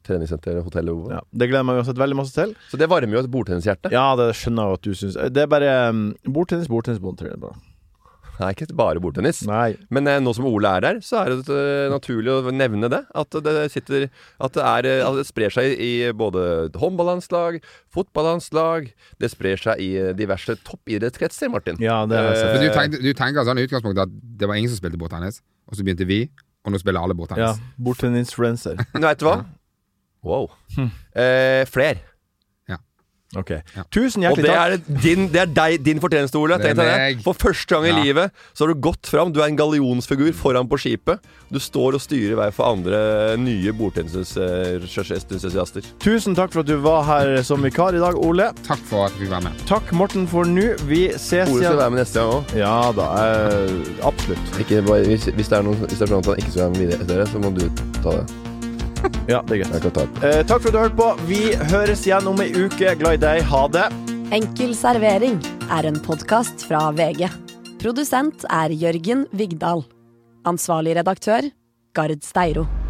Speaker 3: treningssenteret, hotellet Ovo.
Speaker 2: Ja, det gleder jeg meg uansett veldig masse til.
Speaker 3: Så det varmer jo et bordtennishjerte.
Speaker 2: Ja, det skjønner jeg jo at du syns. Det er bare um, bordtennis, bordtennis, bordtennis. bare.
Speaker 3: Det er ikke bare bordtennis.
Speaker 2: Nei.
Speaker 3: Men eh, nå som Ole er her, så er det eh, naturlig å nevne det. At det, sitter, at det, er, eh, at det sprer seg i både håndballandslag, fotballandslag Det sprer seg i eh, diverse toppidrettskretser, Martin.
Speaker 2: Ja, det har jeg
Speaker 5: Men
Speaker 2: sett.
Speaker 5: du, tenker, du tenker sånn i utgangspunktet at det var ingen som spilte bordtennis, og så begynte vi, og nå spiller alle
Speaker 2: Ja,
Speaker 5: bordtennis.
Speaker 2: Bordtennis-influencer.
Speaker 3: Men veit du hva? Wow.
Speaker 2: Hm.
Speaker 3: Eh, Fler.
Speaker 2: Ok.
Speaker 5: Ja.
Speaker 2: Tusen
Speaker 3: Og
Speaker 2: hjertelig
Speaker 3: det
Speaker 2: takk.
Speaker 3: er, din, det er deg, din fortjeneste, Ole.
Speaker 5: Det er
Speaker 3: Tenk deg det.
Speaker 5: meg.
Speaker 3: For første gang i
Speaker 5: Ja.
Speaker 3: livet så har du gått fram. Du er en gallionsfigur foran på skipet. Du står og styrer vei for andre eh, nye eh, bordtennisentusiaster.
Speaker 2: Tusen takk for at du var her som vikar i dag, Ole.
Speaker 5: Takk for at vi fikk være med.
Speaker 2: Takk, Morten, for nå. Vi ses
Speaker 3: Ole skal
Speaker 2: igjen.
Speaker 3: være med neste gang òg.
Speaker 2: Ja da, eh, absolutt.
Speaker 3: Hvis, hvis, det er noen- hvis det er sånn at han ikke skal være med videre etter det, så må du ta det.
Speaker 2: Ja, det er greit.
Speaker 3: Jeg kan ta det.
Speaker 2: Eh, takk for at du hørte på. Vi høres igjen om ei uke. Glad i deg. Ha det.
Speaker 1: Enkel servering er en podkast fra VG. Produsent er Jørgen Vigdal. Ansvarlig redaktør Gard Steiro.